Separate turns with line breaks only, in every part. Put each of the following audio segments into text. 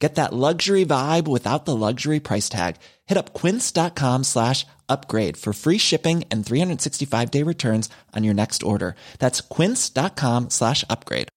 Get that luxury vibe without the luxury price tag. Hit up quince.com slash upgrade for free shipping and 365 day returns on your next order. That's quince.com slash upgrade.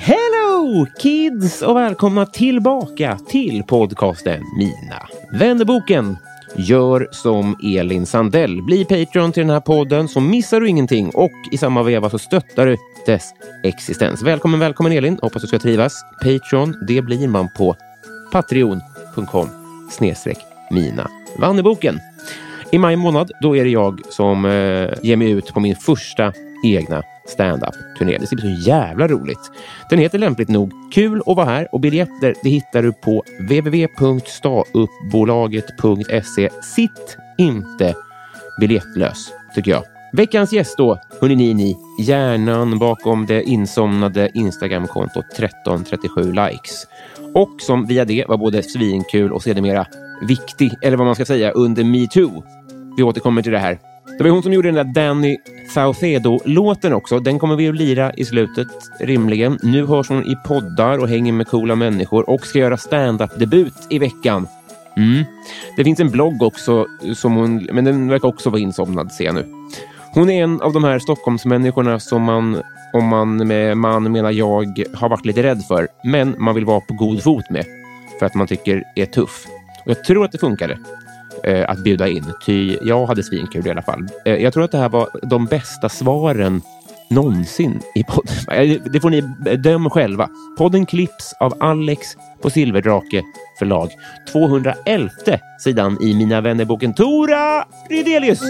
Hello kids och välkomna tillbaka till podcasten Mina vännerboken. Gör som Elin Sandell. Bli Patreon till den här podden så missar du ingenting och i samma veva så stöttar du dess existens. Välkommen, välkommen Elin. Hoppas du ska trivas. Patreon, det blir man på patreon.com snedstreck mina vanneboken. I maj månad, då är det jag som eh, ger mig ut på min första egna stand-up-turné. Det ska bli så jävla roligt. Den heter lämpligt nog Kul att vara här och biljetter det hittar du på www.stauppbolaget.se. Sitt inte biljettlös, tycker jag. Veckans gäst då, hörni ni, ni, hjärnan bakom det insomnade Instagramkontot 1337 likes. Och som via det var både svinkul och sedermera viktig, eller vad man ska säga, under metoo. Vi återkommer till det här. Det var ju hon som gjorde den där Danny Saucedo-låten också. Den kommer vi att lira i slutet, rimligen. Nu hörs hon i poddar och hänger med coola människor och ska göra stand-up-debut i veckan. Mm. Det finns en blogg också, eh, som hon, men den verkar också vara insomnad, ser jag nu. Hon är en av de här Stockholmsmänniskorna som man, om man med man menar jag, har varit lite rädd för, men man vill vara på god fot med för att man tycker är tuff. Och jag tror att det funkade eh, att bjuda in, ty jag hade svinkul i alla fall. Eh, jag tror att det här var de bästa svaren någonsin i podden. Eh, Det får ni döma själva. Podden klipps av Alex på Silverdrake förlag. 211 sidan i Mina vännerboken Tora Rydelius.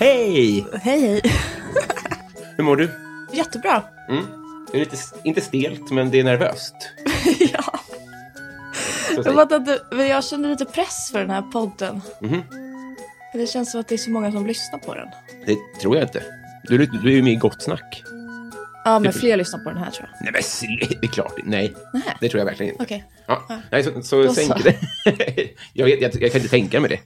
Hej!
Hej hej.
Hur mår du?
Jättebra.
Mm. Det är lite, inte stelt, men det är nervöst.
ja.
Så att
Jag,
säga.
fattar inte, men jag känner lite press för den här podden.
Mhm.
Det känns som att det är så många som lyssnar på den.
Det tror jag inte. Du, du, du är ju med i Gott Snack.
Ja, men fler lyssnar på den här tror jag.
Nej, men sl- det är klart. Nej,
Nähä.
det tror jag verkligen inte.
Okej.
Ja. Nej, så, så
Då
sänk
så.
det. jag, vet- jag, jag kan inte tänka mig det.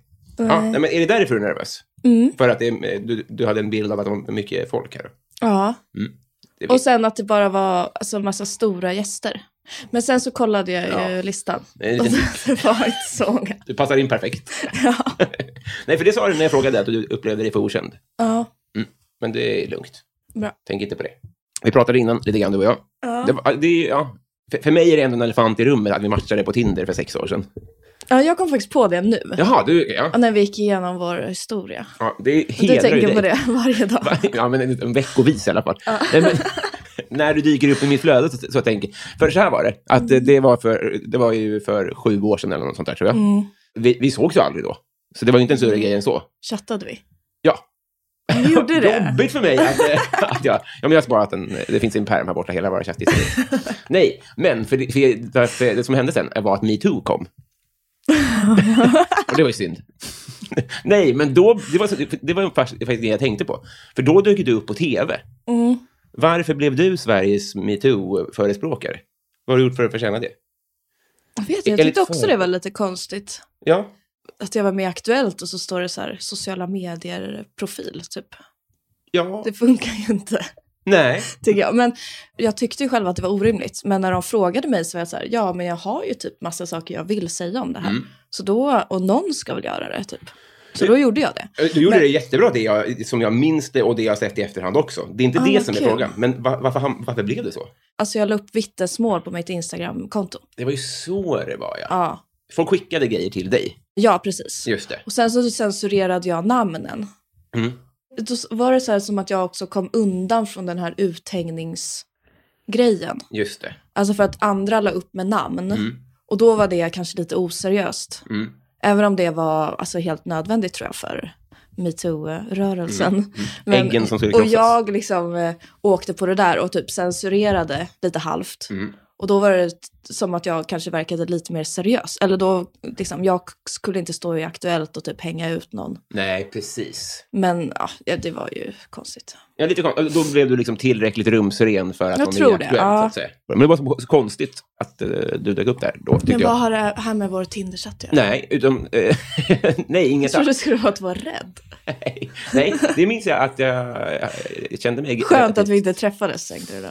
Ja, nej, men är det därför du är nervös?
Mm.
För att det, är- eh, du, du hade en bild av att det var mycket folk här?
Ja.
Mm. Det vet-
Och sen att det bara var alltså, en massa stora gäster. Men sen så kollade jag ju
Ja.
listan.
Det är en
Och
liten
sen så var det inte så många.
Du passar in perfekt.
Ja.
nej, för det sa du när jag frågade, att du upplevde dig för okänd.
ja.
Men det är lugnt.
Bra.
Tänk inte på det. Vi pratade innan lite grann, du och jag.
Ja.
Det, var- det, är- ja. för, för mig är det ändå en elefant i rummet att vi matchade på Tinder för sex år sedan.
ja, jag kom faktiskt på det nu.
Jaha, du... Ja.
När vi gick igenom vår historia.
Ja, det
Du
hedrar ju
tänker
dig.
på det varje dag.
Va? Ja, men en, en veckovis i alla fall. Nej, men, när du dyker upp i mitt flöde så, så tänker För så här var det. Att eh, det, var för, det var ju för sju år sedan eller något sånt där, tror jag.
Mm.
Vi, vi sågs ju aldrig då. Så det var ju inte en större grej än så.
Chattade vi?
Ja.
Vi gjorde det.
Jobbigt för mig att, eh, att jag... Ja, men jag har sparat en... Det finns en pärm här borta, hela våra chattisar. Nej, men för det, för, för det som hände sen var att metoo kom. Och det var ju synd. Nej, men då... Det var, så- det var faktiskt det jag tänkte på. För då dök du upp på tv.
Mm.
Varför blev du Sveriges metoo-förespråkare? Vad har du gjort för att förtjäna det?
Jag vet inte, jag
Eller
tyckte också
två.
det var lite konstigt.
Ja,
Att jag var med i Aktuellt och så står det så här sociala medier-profil typ.
ja.
Det funkar ju inte.
Nej.
tycker jag. Men jag tyckte ju själv att det var orimligt. Men när de frågade mig så var jag så här, ja men jag har ju typ massa saker jag vill säga om det här.
Mm.
Så då, och någon ska väl göra det typ. Så då gjorde jag det.
Eh, Du gjorde
Men-
det jättebra, det jag, som jag minns det och det jag har sett i efterhand också. Det är inte
Ah,
det
vad
som är
kul.
frågan. Men va, varför, ham- varför blev det så?
Alltså jag la upp vittnesmål på mitt Instagram-konto.
Det var ju så det var, ja.
Ja,
Folk skickade grejer till dig.
ja precis.
Just det.
Och sen så censurerade jag namnen.
Mm.
Då var det så här som att jag också kom undan från den här uthängningsgrejen.
Just det.
Alltså för att andra la upp med namn.
Mm.
Och då var det kanske lite oseriöst.
Mm.
Även om det var alltså, helt nödvändigt tror jag för metoo-rörelsen.
Mm. Äggen som skulle
Och
krossas.
jag liksom eh, åkte på det där och typ censurerade lite halvt.
Mm.
Och då var det t- som att jag kanske verkade lite mer seriös. Eller då, liksom, jag skulle inte stå i Aktuellt och typ hänga ut någon.
Nej, precis.
Men ja, ja, det var ju konstigt.
Ja, lite kon- då blev du liksom tillräckligt rumsren för att
Jag
någon
tror
är
det,
aktuell,
ja.
så att säga. Men det var så så konstigt att eh, du dök upp där då, tycker
Men
jag.
vad har det här med vår Tinder-chatt att göra?
Nej, utom... eh, nej,
Jag
inget
trodde
alls.
det skulle vara att vara rädd.
Nej, nej, det minns jag att jag, jag kände mig...
Skönt att vi inte träffades, tänkte du då.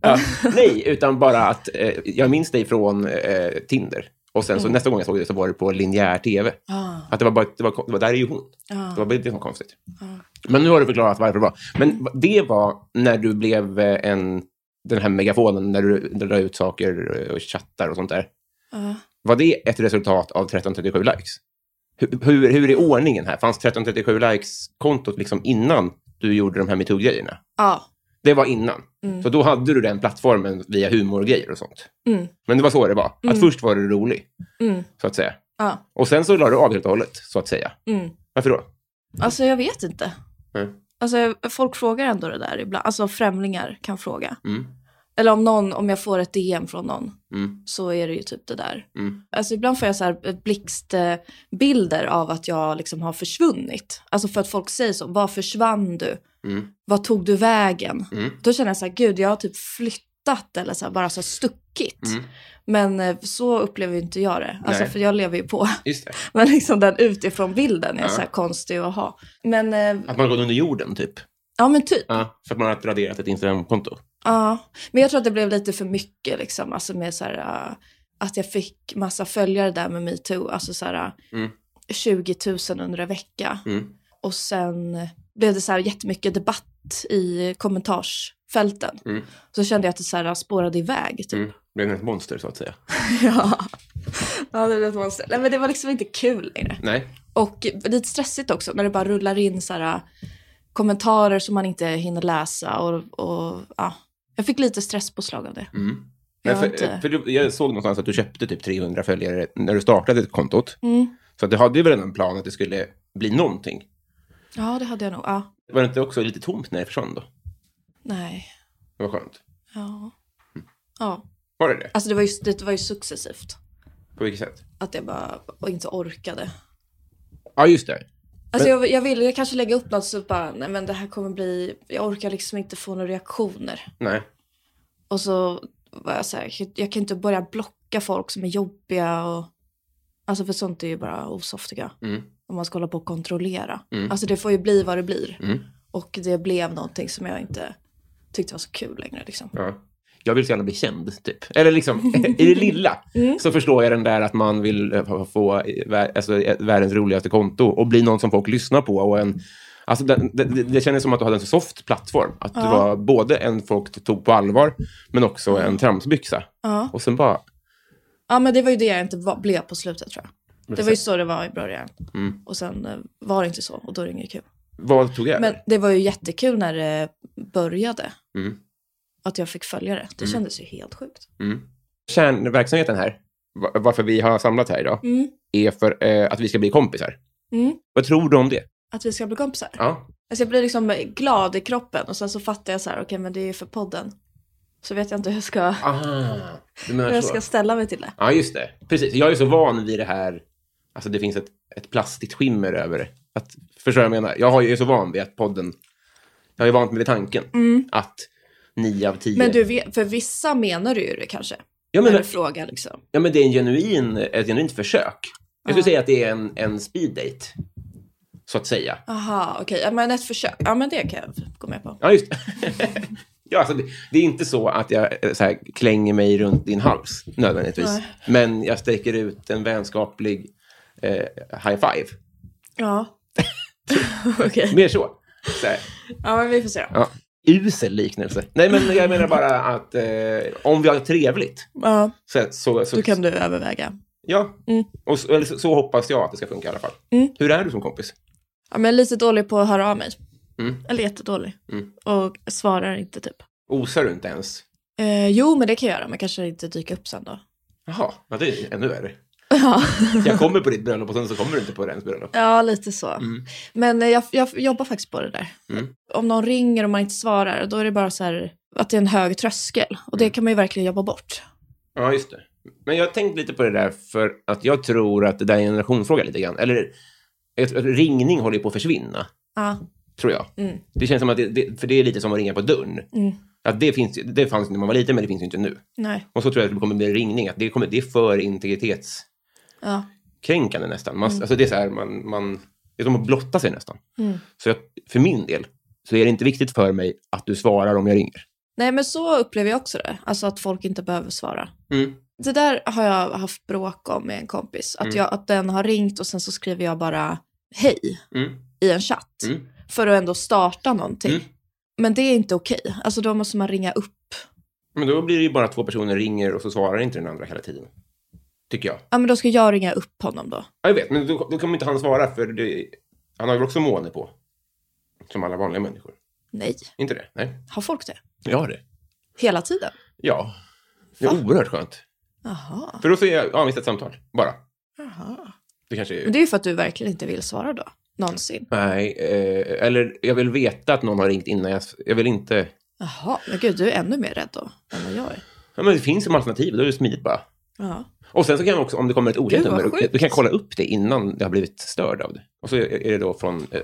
Ja, nej, utan bara att eh, jag minns dig från eh, Tinder. Och sen så nästa gång jag såg dig så var det på linjär tv.
Mm. Ah,
Att det var bara, det var, det var, där är ju hon.
ah.
Det var bara det som var konstigt.
Ja.
Men nu har du förklarat varför det var. Men va- det var när du blev eh, en, den här megafonen, när du, när du la ut saker eh, och chattar och sånt där.
ja.
Var det ett resultat av 1337 likes? Hur, hur, hur är ordningen här? Fanns 1337 likes-kontot liksom innan du gjorde de här metoo-grejerna?
Ja,
Det var innan.
Mm.
Så då hade du den plattformen via humorgrejer och sånt.
Mm.
Men det var så det var. Att
Mm.
först var du rolig,
mm,
så att säga.
ja,
Och sen så la du av helt och hållet, så att säga.
mm.
Varför då?
Alltså jag vet inte.
Mm.
Alltså folk frågar ändå det där ibland. Alltså främlingar kan fråga.
Mm.
Eller om någon, om jag får ett DM från någon
Mm.
så är det ju typ det där.
Mm.
Alltså ibland får jag så här blixtbilder av att jag liksom har försvunnit. Alltså för att folk säger så, var försvann du?
Mm.
Vad tog du vägen?
Mm.
Då känner jag så här, gud jag har typ flyttat eller så här, bara så här stuckit.
Mm.
Men eh, så upplever ju inte jag det. Alltså
Nej.
för jag lever ju på.
Just det.
Men liksom den utifrån bilden är
Ja.
så här konstig att ha. Men eh,
Att man gått under jorden, typ.
ja, men typ.
Ja, för att man har raderat ett Instagram-konto.
Ja. Men jag tror att det blev lite för mycket liksom. Alltså med så här, eh, att jag fick massa följare där med metoo. Alltså så här eh,
Mm.
20 000 under en vecka.
Mm.
Och sen blev det så här jättemycket debatt i kommentarsfälten.
Mm.
Så kände jag att det så här eh, spårade iväg. Typ.
Mm. Blev ett monster, så att säga.
Ja. ja, det blev ett monster. Nej, men det var liksom inte kul längre.
Nej.
Och lite stressigt också när det bara rullar in så här, äh, kommentarer som man inte hinner läsa. Och, och, ja. Jag fick lite stresspåslag av det.
Mm.
Jag
Men
har
för,
inte-
för du, jag såg någonstans att du köpte typ 300 följare när du startade kontot.
Mm.
Så att du hade ju väl en plan att det skulle bli någonting.
Ja, det hade jag nog. Ja.
Var det inte också lite tomt när det försvann då?
Nej.
Det var skönt.
Ja. ja.
Var det det?
Alltså det var, ju, det var ju successivt.
På vilket sätt?
Att jag bara och inte orkade.
Ja, just det.
Alltså jag, jag ville kanske lägga upp något så bara, nej men det här kommer bli, jag orkar liksom inte få några reaktioner.
Nej.
Och så var jag så här, jag kan inte börja blocka folk som är jobbiga och, alltså för sånt är ju bara osoftiga.
Mm.
om man ska hålla på och kontrollera.
Mm.
Alltså det får ju bli vad det blir.
Mm.
Och det blev någonting som jag inte tyckte var så kul längre. Liksom.
Ja. Jag vill så gärna bli känd, typ. Eller liksom, i det lilla
Mm.
så förstår jag den där att man vill eh, få eh, vär- alltså, eh, världens roligaste konto och bli någon som folk lyssnar på. Och en, alltså, det, det, det kändes som att du hade en så soft plattform. Att du
Ja. Mm.
var både en folk tog på allvar, men också en tramsbyxa.
Ja.
Och sen bara...
ja, men det var ju det jag inte var, blev på slutet tror jag. Det var ju
sen-
så det var i början.
Mm. Äh.
Och sen eh, var det inte så och då är det inget kul.
Vad tog jag?
Men det var ju jättekul när det började.
Mm.
Att jag fick följa det. Det kändes ju helt sjukt.
Mm. Kärnverksamheten här, va- varför vi har samlat här idag,
Mm.
är för eh, att vi ska bli kompisar.
Mm.
Vad tror du om det?
Att vi ska bli kompisar.
Ja.
Alltså jag blir liksom glad i kroppen och sen så fattar jag så här, okej men det är ju för podden. Så vet jag inte hur jag ska,
Aha, Ah, du menar
hur jag
så.
ska ställa mig till det.
Ja, just det. Precis. Jag är så van vid det här. Alltså, det finns ett, ett plastigt skimmer över det. Att, förstår du vad jag menar? Jag har- jag är så van vid att podden... Jag är van vid tanken att nio av tio...
Mm. Men du, vet- för vissa menar du ju det kanske.
ja,
när
men,
du frågar liksom.
ja, men det är en genuin, ett genuint försök. Jag skulle
Ja.
säga att det är en, en speed date. så att säga.
Aha, okej. Ja, men ett försök. Ja, men det kan jag gå med på.
Ja, just ja, alltså, det. Det är inte så att jag eh, så här, klänger mig runt din hals nödvändigtvis.
Nej.
Men jag sträcker ut en vänskaplig eh, high five.
Ja. okej.
Mer så. så här.
Ja, men vi får se då.
Ja. Usel liknelse. Nej, men jag menar bara att eh, om vi har trevligt
Ja,
så, så, så,
då kan du överväga.
ja.
Mm.
Och så, eller så, så hoppas jag att det ska funka i alla fall.
Mm.
Hur är du som kompis?
Ja, men lite dålig på att höra av mig.
Mm.
Eller jättedålig.
Mm.
Och svarar inte typ.
Osar du inte ens?
Eh, jo, men det kan jag göra, men kanske inte dyka upp sen då.
Jaha, ja, det är ännu värre.
Ja,
Jag kommer på ditt bröllop och sen så kommer du inte på ens bröllop.
ja lite så.
Mm.
Men eh, jag, jag jobbar faktiskt på det där.
Mm.
Om någon ringer och man inte svarar, då är det bara så här att det är en hög tröskel. Och
Mm.
det kan man ju verkligen jobba bort.
Ja, just det. Men jag har tänkt lite på det där för att jag tror att det där är en generationsfråga lite grann. Eller jag tror att ringning håller ju på att försvinna,
Ja,
tror jag.
mm,
Det känns som att det, det, för det är lite som att ringa på dörren.
mm,
Att det, finns, det fanns när man var liten, men det finns ju inte nu.
nej,
Och så tror jag att det kommer bli en ringning, att det, kommer, det är för integritetskränkande
ja,
nästan. Man, alltså det, är så här, man, man, det är som att blotta sig nästan.
mm.
Så jag, för min del så är det inte viktigt för mig att du svarar om jag ringer.
Nej, men så upplever jag också det. Alltså att folk inte behöver svara.
Mm.
Det där har jag haft bråk om med en kompis. Att,
Mm.
jag, att den har ringt och sen så skriver jag bara hej
Mm.
i en chatt.
Mm.
För att ändå starta någonting.
Mm.
Men det är inte okej. Alltså då måste man ringa upp.
Men då blir det ju bara att två personer ringer och så svarar inte den andra hela tiden. Tycker jag.
Ja, men då ska jag ringa upp honom då.
Ja, jag vet, men då, då kommer inte han svara för det, han har ju också måne på. Som alla vanliga människor.
Nej,
Inte det? Nej.
har folk det?
Jag har det.
Hela tiden?
Ja. Det är
Va?
oerhört skönt.
Jaha.
För då säger jag, ja, vi ett samtal. Bara.
Jaha.
Det kanske är...
Men det är ju för att du verkligen inte vill svara då. Någonsin.
Nej, eh, eller jag vill veta att någon har ringt innan jag... Jag vill inte...
Jaha, men gud, du är ännu mer rädd då än vad jag är.
Ja, men det finns som alternativ, då är det smidigt bara.
Ja.
Och sen så kan man också, om det kommer ett okänt
Gud, vad
nummer,
sjukt.
du kan kolla upp det innan det har blivit störd av det. Och så är det då från eh,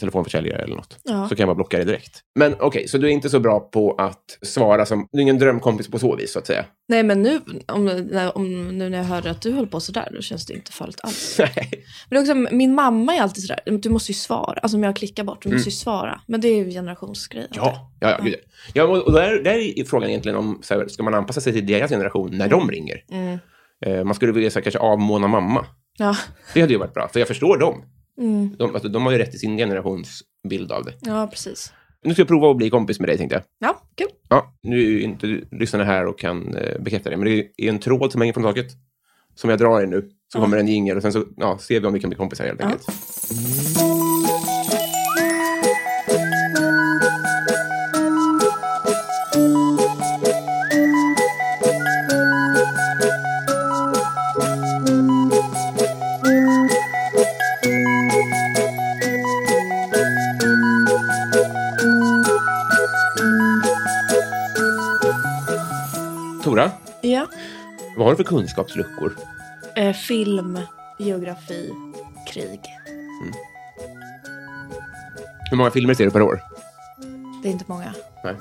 telefonförsäljare eller något.
Ja.
Så kan jag bara blocka det direkt. Men okej, så du är inte så bra på att svara som, du är ingen drömkompis på så vis så att säga.
Nej, men nu, om, när- om, nu när jag hörde att du höll på sådär, då känns det inte farligt alls.
Nej.
Men det är också, min mamma är alltid sådär, du måste ju svara. Alltså om jag klickar bort, du måste ju svara. Men det är ju generationsgrejen.
Ja, ja, ja, gud. ja och och där, där är frågan egentligen om, så här, ska man anpassa sig till deras generation när de ringer?
Mm.
Eh, man skulle vilja så här, kanske avmåna mamma.
Ja.
Det hade ju varit bra, för jag förstår dem.
Mm.
De, alltså, de har ju rätt i sin generations bild av det.
ja, precis.
Nu ska jag prova att bli kompis med dig, tänkte jag.
Ja, kul.
Ja, nu är ju inte lyssnarna här och kan eh, bekräfta det, men det är en tråd som hänger från taket som jag drar i nu. Så kommer en jingel och sen så ja, ser vi om vi kan bli kompisar helt enkelt. Tora,
Ja.
vad har du för kunskapsluckor?
Eh, film, geografi, krig.
Hur många filmer ser du per år?
Det är inte många.
Nej.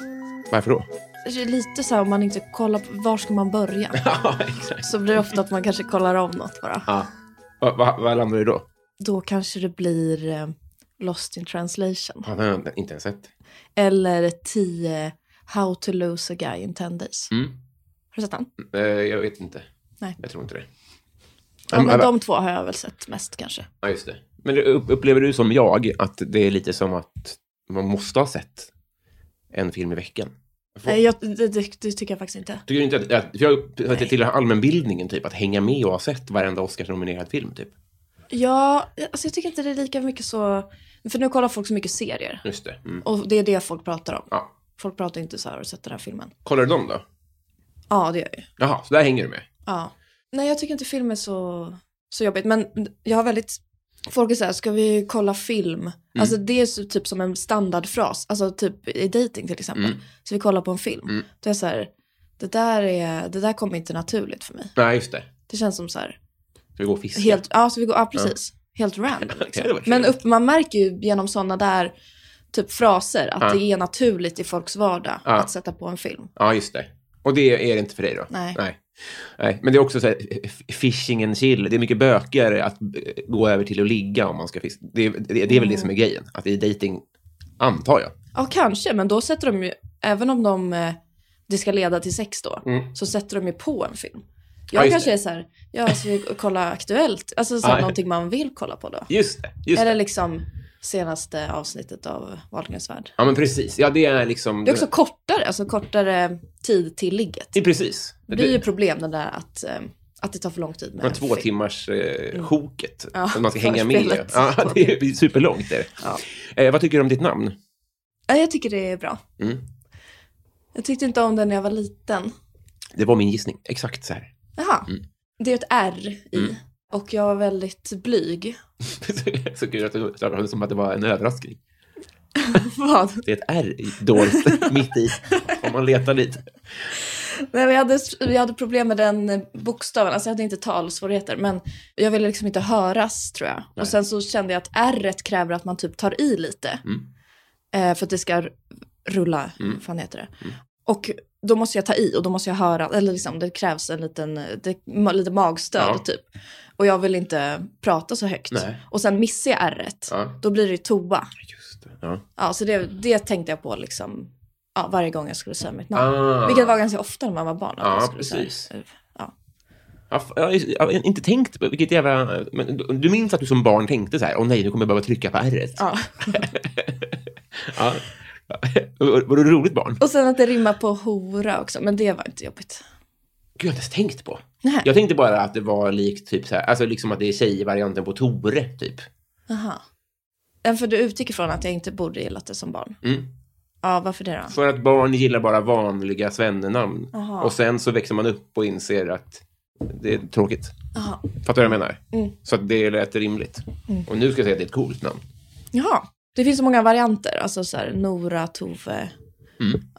Varför då?
Det är Alltså, lite så här om man inte kollar på, var ska man börja?
Ja, exakt.
Så blir det ofta att man kanske kollar om något bara.
Ja. Vad va, vad landar du då?
Då kanske det blir eh, Lost in translation.
Ja, den har jag inte ens sett.
Eller 10 How to lose a guy in 10 days.
Mm.
Har du sett den?
Eh, jag vet inte.
Nej.
Jag tror inte det.
Ja, men
va-
de två har jag väl sett mest kanske.
Ja, just det. Men det- upp- upplever du som jag att det är lite som att man måste ha sett en film i veckan? Får-
Nej, Eh, jag, det, det, det tycker jag faktiskt inte.
Tycker du inte att, att för jag upplever att det tillhör allmänbildningen typ, att hänga med och ha sett varenda Oscars-nominerad film typ.
Ja, alltså jag tycker inte det är lika mycket så... För nu kollar folk så mycket serier.
Just det. Mm.
Och det är det folk pratar om.
Ja.
Folk pratar inte så här, har du sett den här filmen?
Kollar du dem då?
Ja, det gör jag ju.
Jaha, så där hänger du med?
Ja. Nej, jag tycker inte film är så, så jobbigt. Men jag har väldigt... Folk är så här, ska vi kolla film?
Mm.
Alltså det är så, typ som en standardfras. Alltså typ i dating till exempel.
Mm.
Ska vi kolla på en film?
Mm.
Då är jag så här, det där, är, det där kommer inte naturligt för mig.
Nej, just det.
Det känns som så här,
Ska vi gå och fiska?
helt, ja, så vi går, ja precis. Helt random.
Det hade
Liksom.
varit
Men
trevligt.
upp, man märker ju genom sådana där typ fraser att
Ja.
det är naturligt i folks vardag
Ja.
att sätta på en film.
Ja, just det. Och det är det inte för dig då?
Nej.
Nej. Nej, men det är också så här, f- fishing and chill. Det är mycket bökigare att eh, gå över till att ligga om man ska fiska. Det, är- det, det är väl det som är grejen, att det är dating antar jag.
Ja, kanske, men då sätter de ju, även om de, eh, det ska leda till sex då,
Mm.
så sätter de ju på en film.
Ja,
Jag
just
kanske
det. Ah,
är så här, jag ska kolla Aktuellt, alltså så
Ja.
här, någonting man vill kolla på då.
Just det. Just
Eller
det.
liksom senaste avsnittet av Wahlgrens värld.
Ja, men precis. Ja, det är liksom...
Det är också kortare, alltså kortare tid till ligget.
det är precis.
Det blir ju problem det där att, eh, att det tar för lång tid med
de här två
film.
timmars eh, sjoket.
Mm. Ja,
som man ska hänga med i.
förspelet.
Ja, det är superlångt. Där.
Ja.
Eh, vad tycker du om ditt namn?
Ja, jag tycker det är bra.
Mm.
Jag tyckte inte om det när jag var liten.
Det var min gissning. Exakt så här.
Jaha. Det är ett R i.
Mm.
Och jag var väldigt blyg.
så kul att du sa det som att det var en överraskning.
Vad?
Det är ett R i- dolt mitt i, om man letar lite.
Nej, men jag, hade, jag hade problem med den eh, bokstaven. Alltså jag hade inte talsvårigheter. Men jag ville liksom inte höras tror jag.
Nej.
Och sen så kände jag att R kräver att man typ tar i lite.
Mm.
Eh, för att det ska r- rulla,
Mm.
vad fan heter det? Och då måste jag ta i och då måste jag höra, eller liksom det krävs en liten, eh, det, ma- lite magstöd
Ja.
typ. Och jag vill inte prata så högt.
Nej.
Och sen missar jag ärret.
Ja,
Då blir det ju toa.
just det. Ja.
Ja, så det, det tänkte jag på liksom, ja, varje gång jag skulle säga mitt namn.
Ah.
Vilket var ganska ofta när man var barn. att
Ja,
man skulle säga-
precis.
Ja.
Ja, f- ja, just- jag har inte tänkt på vilket jävla... Men du- du minns att du som barn tänkte så här, åh nej, nu kommer jag behöva trycka på ärret.
Ja.
Ja. Var var du ett roligt barn?
Och sen att det rimmar på hora också, men det var inte jobbigt.
Gud, jag har inte ens tänkt på.
Nej.
Jag tänkte bara att det var likt typ så här, alltså liksom att det är tjejvarianten på Tore, typ.
Aha. Ja, För du utgick ifrån att jag inte borde gillat det som barn.
Mm.
Ja, varför det då?
För att barn gillar bara vanliga svennenamn.
Aha.
Och sen så växer man upp och inser att det är tråkigt.
Aha.
Fattar du vad jag menar?
Mm.
Så att det lät rimligt. Och nu ska jag säga att det är ett coolt namn.
Jaha. Det finns så många varianter, alltså så här Nora, Tove,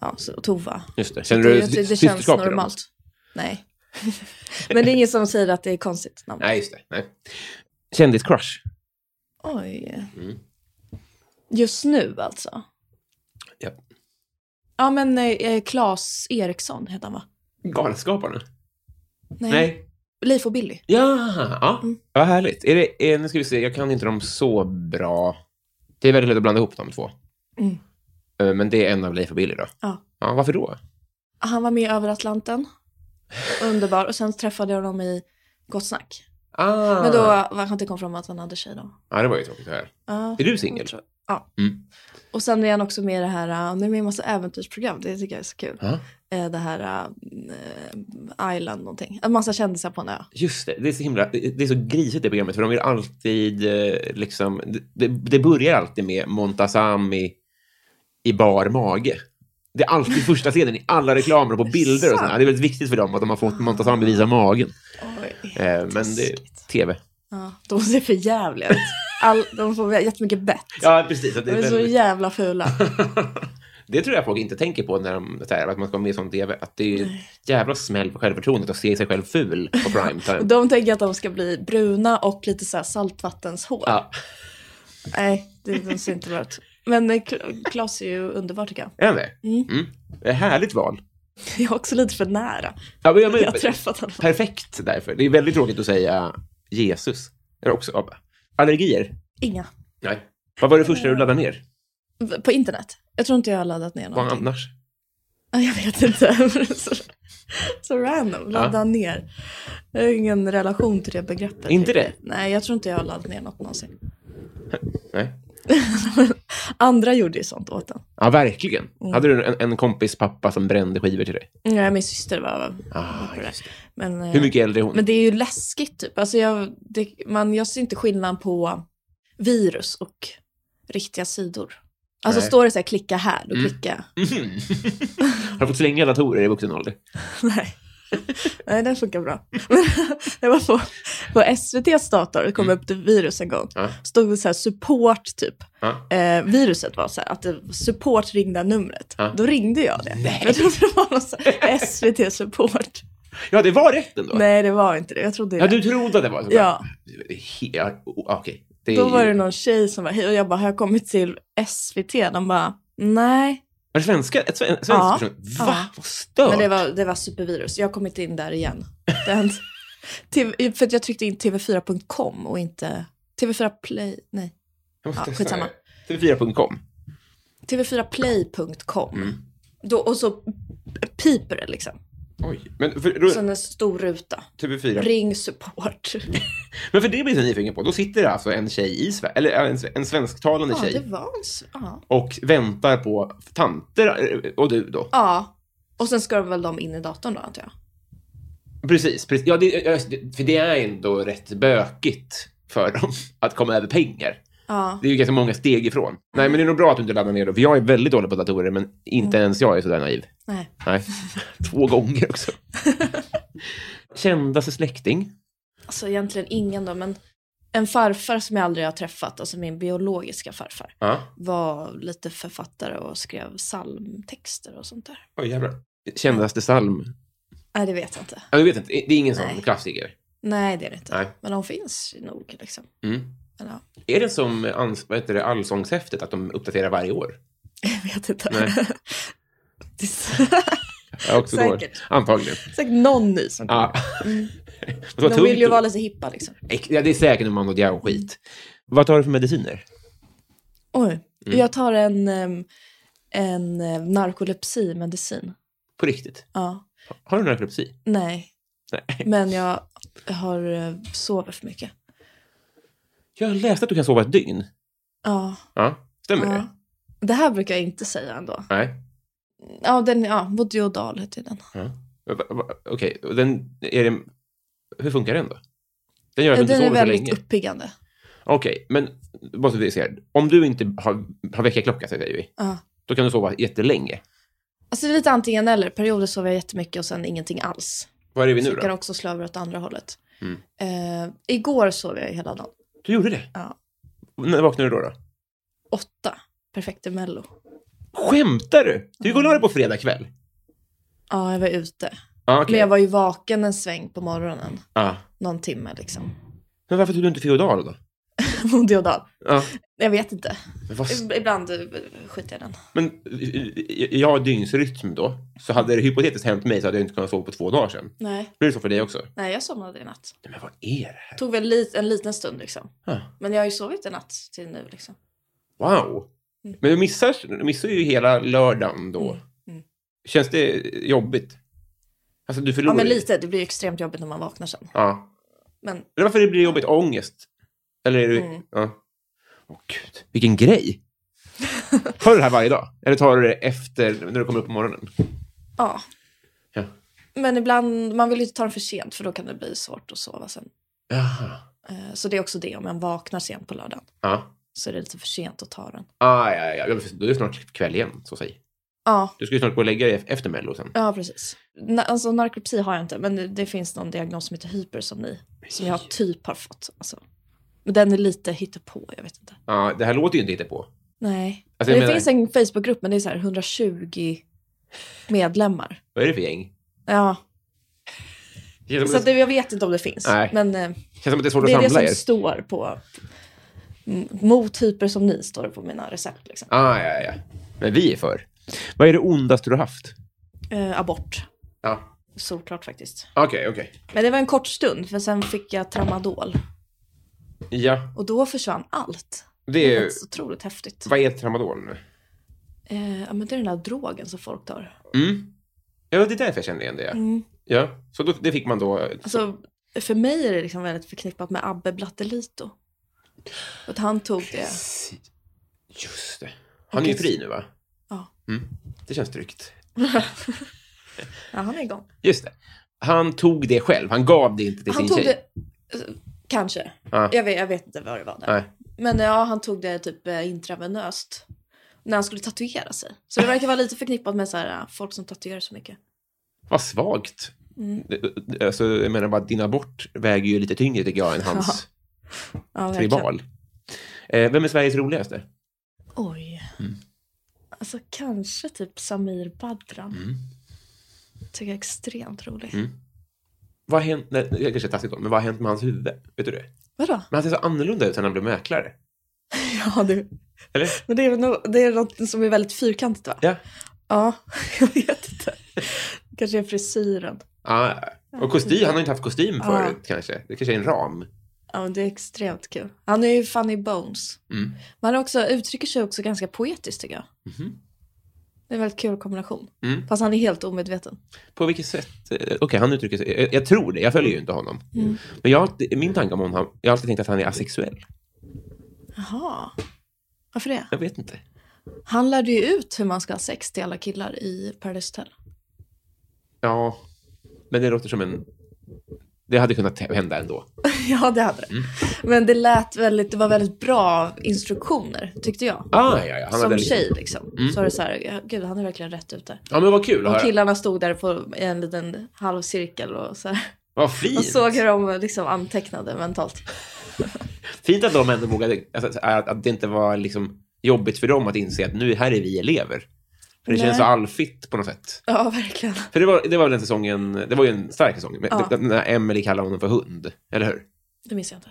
ja, så, Tova.
Just det. Känner
Det,
Mm. du
det, det
systerskap
känns
till dem?
normalt. Nej. men det är ingen som säger att det är konstigt namn.
Nej, just det. Nej. Kändiscrush.
Oj.
Mm.
Just nu alltså?
Ja.
Ja men eh, eh, Claes Eriksson heter han va?
Galenskaparna?
Nej. Mm.
Nej.
Leif och Billy.
Ja, ja. vad härligt. Är det, är, nu ska vi se, jag kan inte dem så bra. Det är väldigt lätt att blanda ihop de två.
Mm.
Eh, Men det är en av Leif och Billy då.
Ja.
Ja, varför då?
Han var med i Över Atlanten. Underbar. Och sen träffade jag honom i Gott Snack.
Ah.
Men då var han inte kom fram att han hade tjej då.
Ja, det var ju tråkigt att höra.
Ja,
Är du
jag
singel?
tror- Ja.
Mm.
Och sen är han också med i det här, eh, han är med i en massa äventyrsprogram, det tycker jag är så kul.
Ja.
Eh, Det här eh, Island någonting, en massa kändisar på en ö.
Just det, det är så himla, det är så grisigt det programmet för de vill alltid eh, liksom, det- det, det börjar alltid med Montazami i, i bar mage. Det är alltid första scenen i alla reklamer och på bilder och sådär. Det är väldigt viktigt för dem att de har fått Montazami visa magen.
Oj.
Eh, men det är
Taskigt.
tv.
Ja, de ser för jävliga ut. All, de får jättemycket bett.
Ja, precis. Att
de
det, är
är så
väldigt,
jävla fula.
det tror jag folk inte tänker på när de, så här, att man ska vara med i sån tv. Att det är ju jävla smäll på självförtroendet att se sig själv ful på
Och
primetime.
de tänker att de ska bli bruna och lite så här saltvattenshår.
Ja.
Nej, det, de ser inte bra ut. Men eh, Kla- Claes är ju underbar tycker jag.
Är han det?
Mm.
Mm. Det är ett härligt val.
Jag är också lite för nära.
Ja, men, jag-
Jag har träffat honom.
perfekt därför. Det är väldigt tråkigt att säga Jesus. Är det också ja. Allergier?
Inga.
Nej. Vad var det första du laddade ner?
V- På internet. Jag tror inte jag har laddat ner
Vad
någonting.
annars?
Ja, Jag vet inte. så, så random. Ladda ner. Jag har ingen relation till det begreppet.
Inte det?
Nej, jag tror inte jag har laddat ner något någonsin.
Nej.
Andra gjorde ju sånt åt en.
Ja, verkligen.
Mm.
Hade du en, en kompis pappa som brände skivor till dig?
Nej, min syster var...
Ah,
på det.
just det.
Men, eh,
Hur mycket äldre är hon?
men det är ju läskigt typ. Alltså jag, det, man, jag ser inte skillnad på virus och riktiga sidor. Alltså
Nej.
står det så här klicka här, då
Mm.
klicka.
Mhm. Har du fått slänga datorer i vuxen ålder?
Nej. Nej, den funkar bra. Men jag var på, på SVTs dator, det kom upp det virus en gång.
Mm. Ja.
Stod det så här support typ.
Ja.
Eh, viruset var så här att det, support ringde numret.
Ja.
Då ringde jag det.
Nej.
Jag trodde det var någon så här SVT support.
ja, det var rätt ändå.
Nej, det var inte det. Jag trodde
Ja,
det.
du trodde att det var så.
Ja.
Det är he- Ja, o- okej. Det är-
Då var det någon tjej som var hej och jag bara, har jag kommit till SVT? De bara, nej,
Var det svenska? Ett sve- en svensk
Ja.
person? Va?
Ja.
Vad stört!
Men det var, det var supervirus. Jag har kommit in där igen. Den, TV, för att jag tryckte in tv4.com och inte TV4 Play. Nej,
Jag
ja,
måste testa
skitsamma.
det. TV4.com.
TV4play.com.
Mm.
Då, och så piper det liksom.
Oj. Men för, då,
Sen en stor ruta.
TV4.
Ring support.
Men för det blir jag så nyfiken på. Då sitter det alltså en tjej i Sverige, eller äh, en, en svensktalande
Ja,
tjej
det var en... s- Ja.
och väntar på tanter eh, och du då.
ja. Och sen ska de väl de in i datorn då, antar jag.
Precis. precis. Ja, det, eh, ja, just det, för det är ändå rätt bökigt för dem att komma över pengar.
Ja.
Det är ju ganska många steg ifrån. Nej, men det är nog bra att du inte laddar ner då, för jag är väldigt dålig på datorer, men inte
Mm.
ens jag är sådär naiv.
Nej.
Nej. Två gånger också. Kändaste släkting?
Alltså egentligen ingen då, men en farfar som jag aldrig har träffat, alltså min biologiska farfar,
Ja.
var lite författare och skrev psalmtexter och sånt där.
Oj, jävlar. Kändaste psalm?
Nej, det vet jag inte.
Ja, du vet inte. Det är ingen sån
Nej.
klassiker.
Nej, det är det inte.
Nej.
Men de finns nog liksom.
Mm.
Men, ja,
Är det som ans- vad heter det, allsångshäftet, att de uppdaterar varje år?
jag vet inte.
Nej.
Det är
Ja, också då.
Säkert.
Antagligen.
säkert någon ny som
Ja.
Mm.
Det var
De
tungt
vill ju
då.
vara lite hippa liksom.
Ja, det är säkert en Mando Diao-skit. Vad tar du för mediciner?
Oj,
Mm.
jag tar en, em, en eh, narkolepsimedicin.
På riktigt?
Ja,
Har du narkolepsi?
nej.
Nej.
Men jag har eh, sovit för mycket.
Jag läste att du kan sova ett dygn.
Ja,
Ja, stämmer det?
ja. Det här brukar jag inte säga ändå.
Nej.
Ja, den, ja, Bodiodal heter den.
Ja. Va- va- Okej, och den är det... Hur funkar den då? Den gör att du inte
den är
sover så
väldigt
länge?
uppiggande.
Okej, men bara så vi ser. Om du inte har, har väckarklocka, säger vi,
Ja.
då kan du sova jättelänge.
Alltså det är lite antingen eller. Perioder sover jag jättemycket och sen ingenting alls.
Var är vi
Så
nu
jag kan
då?
också slå över åt andra hållet.
Mm.
Eh, igår sov jag ju hela dagen.
Du gjorde det?
Ja.
När vaknade du då? då?
Åtta. Perfekt Mello.
Skämtar du? Du går och la dig
Mm.
på fredag kväll?
Ja, jag var ute.
Ja, okej.
Men jag var ju vaken en sväng på morgonen.
Ja.
Någon timme liksom.
Men varför tog du inte Feodal då?
Bodiodal.
Ja.
Jag vet inte.
Men vad
Ib- Ibland eh, skiter jag i den.
Men eh, jag har dygnsrytm då. Så hade det hypotetiskt hänt mig så hade jag inte kunnat sova på två dagar sedan.
Nej,
Blir det så för dig också?
nej jag somnade i natt.
Nej, men vad är det här?
Tog väl lit, en liten stund liksom.
Ah,
Men jag har ju sovit i natt till nu liksom.
Wow!
Mm.
Men du missar, du missar ju hela lördagen då.
Mm, mm.
Känns det jobbigt? Alltså du
Ja
förlorar
men
ju.
lite, det blir ju extremt jobbigt när man vaknar sen.
Ja.
Men
Eller varför det blir jobbigt? Ångest? Eller är det...
Mm.
Ja. Åh gud, vilken grej! Tar du det här varje dag? Eller tar du det efter, när du kommer upp på morgonen?
ja.
Ja.
Men ibland, man vill ju inte ta den för sent för då kan det bli svårt att sova sen.
Jaha.
Eh, Så det är också det, om man vaknar sent på lördagen
Ja.
så är det lite för sent att ta den.
Ah, ja, ja, ja. Då är det snart kväll igen, så säg.
Ja,
Du ska ju snart gå och lägga dig efter Mello sen.
ja precis. Na, alltså narkolepsi har jag inte, men det, det finns någon diagnos som heter hypersomni som jag typ har fått. Alltså. Men den är lite hittepå, jag vet inte.
Ja, det här låter ju inte hitta på.
Nej.
Alltså, jag
det
menar-
finns en Facebookgrupp, men det är så här 120 medlemmar.
Vad är det för gäng?
Ja,
Det känns
så
som,
att det, jag vet inte om det finns.
Nej.
Men eh,
känns som att det är svårt att
det är det
samla
som
er.
står på... m- Mot hypersomni står det på mina recept. Liksom.
Ah, ja, ja, ja. Men vi är för. Vad är det ondaste du har haft?
Eh, abort,
Ja.
såklart faktiskt.
Okej, okej.
Men det var en kort stund, för sen fick jag tramadol.
Ja,
Och då försvann allt.
det är
Det var
ju...
så otroligt häftigt.
Vad är tramadol nu?
Eh, ja, men det är den där drogen som folk tar.
Mm. Ja, det är därför jag känner igen det. Ja,
Mm.
ja. så då, det fick man då.
Alltså, för mig är det liksom väldigt förknippat med Abbe Blattelito. Att han tog det.
Just det. Han är ju
Okej.
fri nu, va?
Ja.
Mm. Det känns tryggt.
Ja, han är igång.
Just det. Han tog det själv. Han gav det inte till
Han
sin
tog
tjej.
det... eh, Kanske.
Ja.
Jag, vet, jag vet inte vad det var där.
Nej.
Men ja, han tog det typ eh, intravenöst. När han skulle tatuera sig. Så det verkar vara lite förknippat med så här, eh, folk som tatuerar så mycket.
Vad svagt.
Mm.
Det- det- Alltså, jag menar bara, din abort väger ju lite tyngre tycker jag än hans
Ja, verkligen.
tribal. Eh, vem är Sveriges roligaste?
Oj.
Mm.
Alltså kanske typ Samir Badran.
Mm.
Tycker jag är extremt rolig.
Mm. Vad har hänt, nej, det kanske är taskigt då, men vad har hänt med hans huvud? Vet du det?
Vadå?
Men han ser så annorlunda ut sen han blev mäklare.
Ja, du.
Eller?
Men det är, väl nog- det är något som är väldigt fyrkantigt va?
Ja.
Ja, jag vet inte. Kanske är frisyren.
Ja. Och kostym, han har inte haft kostym
Ja.
förut kanske. Det kanske är en ram.
Ja, men det är extremt kul. Han är ju Funny Bones.
Mm.
Man också, uttrycker sig också ganska poetiskt tycker jag.
Mhm.
Det är en väldigt kul kombination.
Mm.
Fast han är helt omedveten.
På vilket sätt? Eh, Okej, han uttrycker sig. Jag, jag tror det. Jag följer ju inte honom.
Mm.
Men jag, har alltid- min tanke om honom, jag har alltid tänkt att han är asexuell.
Jaha. Varför det?
Jag vet inte.
Han lärde ju ut hur man ska ha sex till alla killar i Paradise Hotel.
Ja, men det låter som en... Det hade kunnat hända ändå.
ja, det hade det.
Mm.
Men det lät väldigt, det var väldigt bra instruktioner tyckte jag.
Ah, ja, ja. Han hade
Som
lite-
tjej liksom.
Mm.
Så var det så här, ja, gud han är verkligen rätt ute.
Ja, men vad kul att
Och
höra.
killarna stod där på en liten halvcirkel och så här.
Vad
Man
fint.
såg hur de liksom antecknade mentalt.
Fint att de ändå vågade... Alltså, att, att det inte var liksom jobbigt för dem att inse att nu, här är vi elever. För det
Nej.
känns så allfitt på något sätt.
Ja, verkligen.
För det var, det var väl den säsongen... Det var ju en stark säsong. men
Ja.
Den där Emily kallade honom för hund, eller hur?
Det minns jag inte.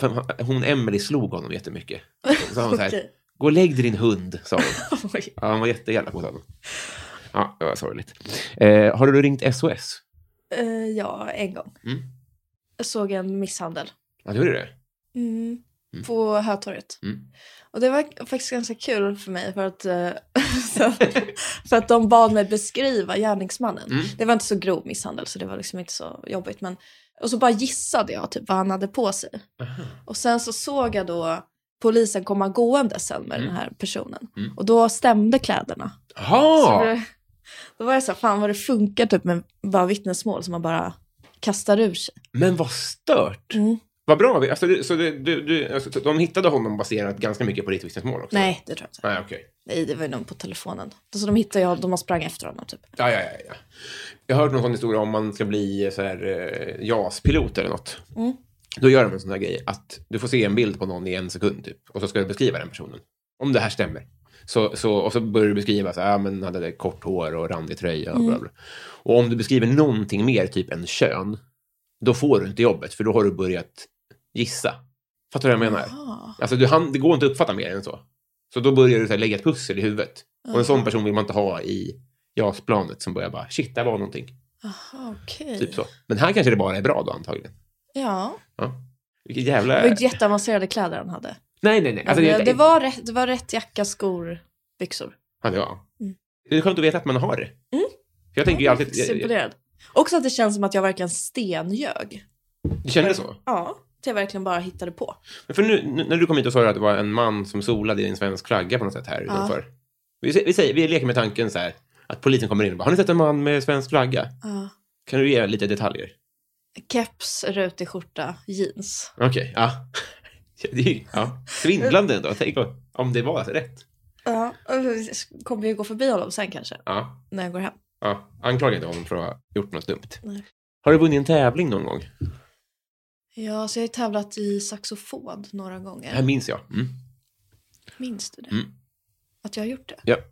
För han- Hon, Emily slog honom jättemycket. Så sa hon så här,
Okej.
gå och lägg dig din hund, sa hon.
Oj.
Ja, han var jätteelak mot honom. Ja, det var sorgligt. Eh, har du ringt SOS?
Eh, ja, en gång.
Mm.
Jag såg en misshandel.
Ja, du gjorde det?
Mm.
Mm.
På Hötorget.
Mm.
Och det var faktiskt ganska kul för mig för att, eh, sen- för att de bad mig beskriva gärningsmannen.
Mm.
Det var inte så grov misshandel så det var liksom inte så jobbigt. Men, och så bara gissade jag typ vad han hade på sig.
Aha.
Och sen så såg jag då polisen komma gående sen med den här personen.
Mm.
Och då stämde kläderna. Så
Jaha!
det, Typ, då var jag så här, fan vad det funkar typ med bara vittnesmål som man bara kastar ur sig.
Men vad stört!
Mm.
Vad bra! vi- Alltså, du, så det, du, du, alltså, de hittade honom baserat ganska mycket på ditt vittnesmål också?
Nej, det tror jag inte.
Nej, okej.
Nej, det var ju någon på telefonen. Så de hittade jag, de har sprang efter honom typ.
Ja, ja, ja, ja. Jag har hört någon sån historia om man ska bli så här, eh, JAS-pilot eller något.
Mm.
Då gör de en sån här grej att du får se en bild på någon i en sekund typ, och så ska du beskriva den personen. Om det här stämmer. Så, så, och så börjar du beskriva, så här, ah, men han hade kort hår och randig tröja. Och, bla, bla. och om du beskriver någonting mer, typ en kön, då får du inte jobbet, för då har du börjat gissa. Fattar du vad jag menar?
Ja,
Alltså, du, han, det går inte att uppfatta mer än så. Så då börjar du så här, lägga ett pussel i huvudet. Och en sån person vill man inte ha i JAS-planet som börjar bara, shit, där var någonting.
Jaha, okej.
Typ så. Men här kanske det bara är bra då, antagligen.
Ja,
Ja. Vilket
det
jävla...
var ju jätteavancerade kläder han hade.
Nej, nej, nej. Alltså, det,
det, det, var rätt, det var rätt jacka, skor, byxor.
Ja, det var.
Mm.
Det är skönt att veta att man har det. För jag tänker ju
Ja,
alltid...
faktiskt
Jag, jag,
imponerad. Också att det känns som att jag verkligen stenljög.
du kände så?
Ja, att jag verkligen bara hittade på.
Men för nu, nu- när du kom hit och sa att det var en man som solade i en svensk flagga på något sätt här utanför. Vi, sä- vi, säger, vi leker med tanken så här, att polisen kommer in och bara, har ni sett en man med svensk flagga?
Ja.
Kan du ge lite detaljer?
Keps, rutig skjorta, jeans.
Okej, ja. Det är ju ja. svindlande ändå. Tänk om- om det var rätt.
Ja, och jag kommer ju gå förbi honom sen kanske,
Ja,
när jag går hem.
ja. Anklaga inte honom för att ha gjort något dumt.
Nej.
Har du vunnit en tävling någon gång?
Ja, så jag har ju tävlat i saxofon några
Det här
gånger.
minns jag. Mm.
Minns du det?
Mm.
Att jag har gjort det?
Ja.
Har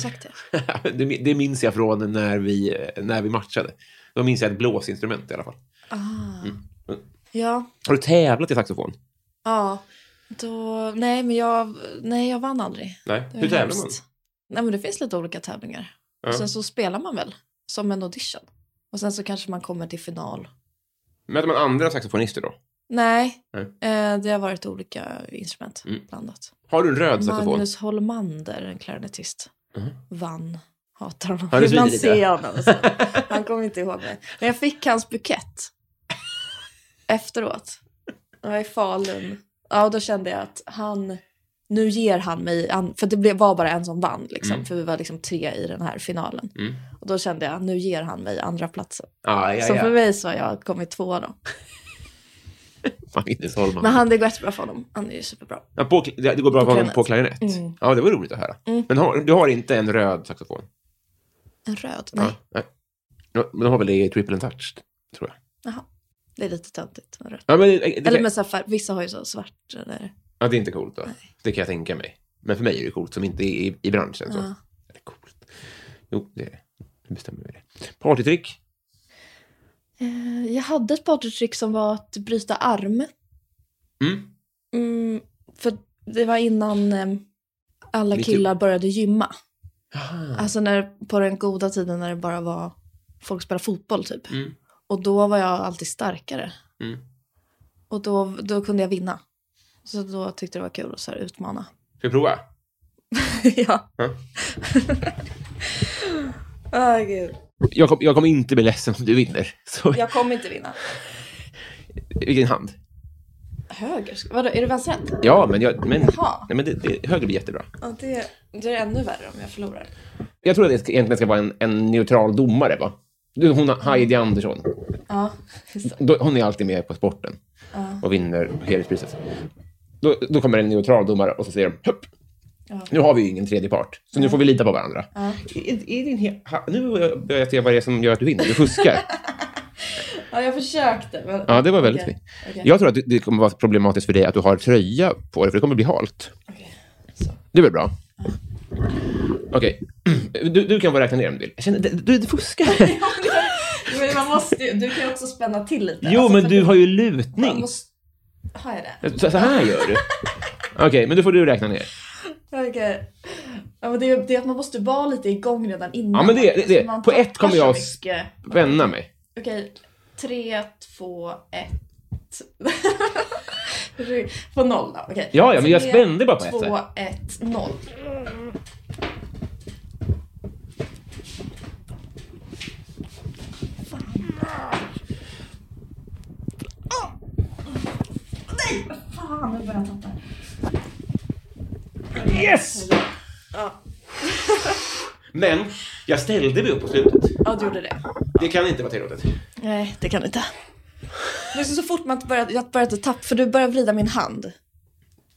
sagt det?
det, min- det minns jag från när vi, när vi matchade. Då minns jag ett blåsinstrument i alla fall.
Ah.
Mm.
Ja,
Har du tävlat i saxofon?
ja. Då, nej, men jag, nej, jag vann aldrig.
Nej.
Det var
Hur tävlar man?
hemskt. Nej, men det finns lite olika tävlingar.
Ja.
Och sen så spelar man väl, som en audition. Och sen så kanske man kommer till final.
Möter man andra saxofonister då?
Nej,
Nej.
Eh, det har varit olika instrument
Mm.
blandat.
Har du en röd saxofon?
Magnus Holmander, en klarinettist,
Mhm.
vann. Hatar honom.
Ja, det
Ibland
svider
ser
lite.
jag honom. och så. Han kommer inte ihåg mig. Men jag fick hans bukett efteråt. Jag var i Falun. Ja, och då kände jag att han, nu ger han mig, an- för det blev- var bara en som vann liksom,
Mm.
för vi var liksom tre i den här finalen.
Mm.
Och då kände jag, nu ger han mig andra platsen.
Ah, ja, Mm.
Så för
ja.
mig så har jag kommit tvåa då.
Magnus Holman.
Men han, det går jättebra för honom. Han är ju superbra.
Ja, på, kl- det det går bra
På
för honom
klarinett.
på klarinett?
Mm.
Ja, det var roligt att höra.
Mm.
Men har, du har inte en röd saxofon?
En röd, nej.
Ja, nej. Ja, Men de har väl det i triple and touch, tror jag.
Jaha. Det är lite töntigt med rött.
Ja, men, det, det,
Eller med så här färg, vissa har ju så svart eller...
ja, det är inte coolt då. Det kan jag tänka mig. Men för mig är det coolt som inte är i, i branschen. Så.
Ja.
Eller coolt. Jo, det nu bestämmer vi det. Partytrick?
Eh, Jag hade ett partytrick som var att bryta arm.
Mm.
Mm, för det var innan eh, alla
Lite-
killar började gymma.
Aha.
Alltså när, på den goda tiden när det bara var folk spelade fotboll typ.
Mm.
Och då var jag alltid starkare.
Mm.
Och då, då kunde jag vinna. Så då tyckte jag det var kul att så här utmana.
Ska vi prova?
ja.
Ja.
Åh gud.
Jag, kom, jag kommer inte bli ledsen om du vinner. Så,
Jag kommer inte vinna.
Vilken hand?
Höger? ska- Vadå, är det vänsterhänt?
Ja, men, jag, men,
Jaha.
nej, men det, det, höger blir jättebra.
Ja, det, det är ännu värre om jag förlorar.
Jag tror att det ska, egentligen ska vara en, en neutral domare, va? Du, hon, Heidi Andersson.
Ja, just det.
Då, hon är alltid med på sporten
Ja.
och vinner hederspriset. Då, då kommer en neutral domare och så säger de Hupp!
Ja.
Nu har vi ju ingen tredje part, så nu får vi lita på varandra.
Ja.
Är, är din he- ha, nu börjar jag se vad det är som gör att du vinner. Du fuskar.
ja, jag försökte. Men...
Ja, det var väldigt
Okej,
fint.
okej,
Jag tror att det- det kommer vara problematiskt för dig att du har tröja på dig, för det kommer bli halt.
okej. Så.
Det är väl bra? Okej. Du, du kan bara räkna ner om du vill. Jag känner, du, du fuskar.
Men man måste ju, du kan ju också spänna till lite.
Jo,
Alltså,
men
för
du
det-
har ju
man
lutning.
måste- Har jag det?
Så, så här gör du. Okej, men då får du räkna ner.
Okej. Ja, men det, är- det är att man måste vara lite igång redan innan.
Ja, men det- det- det.
Så man
På ett kommer
tappar så
jag-
mycket.
Vänna mig.
Okej, tre, två, ett. På noll då, okej.
Ja, ja, men jag
Tre,
spände bara på ett
Två,
sätt.
ett, noll.
Yes! Men jag ställde mig upp på slutet.
Ja, du gjorde det.
Det kan inte vara tillåtet.
Nej, det kan du inte. Men så, så fort man började, jag började tappa, för du började vrida min hand.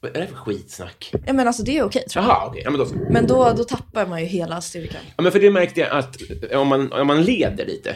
Vad är det för skitsnack?
Ja, men alltså det är okej tror jag.
Jaha, okej. Ja, men då så.
Men då, då tappar man ju hela styrkan.
Ja, men för det märkte jag att eh, om man, om man leder lite,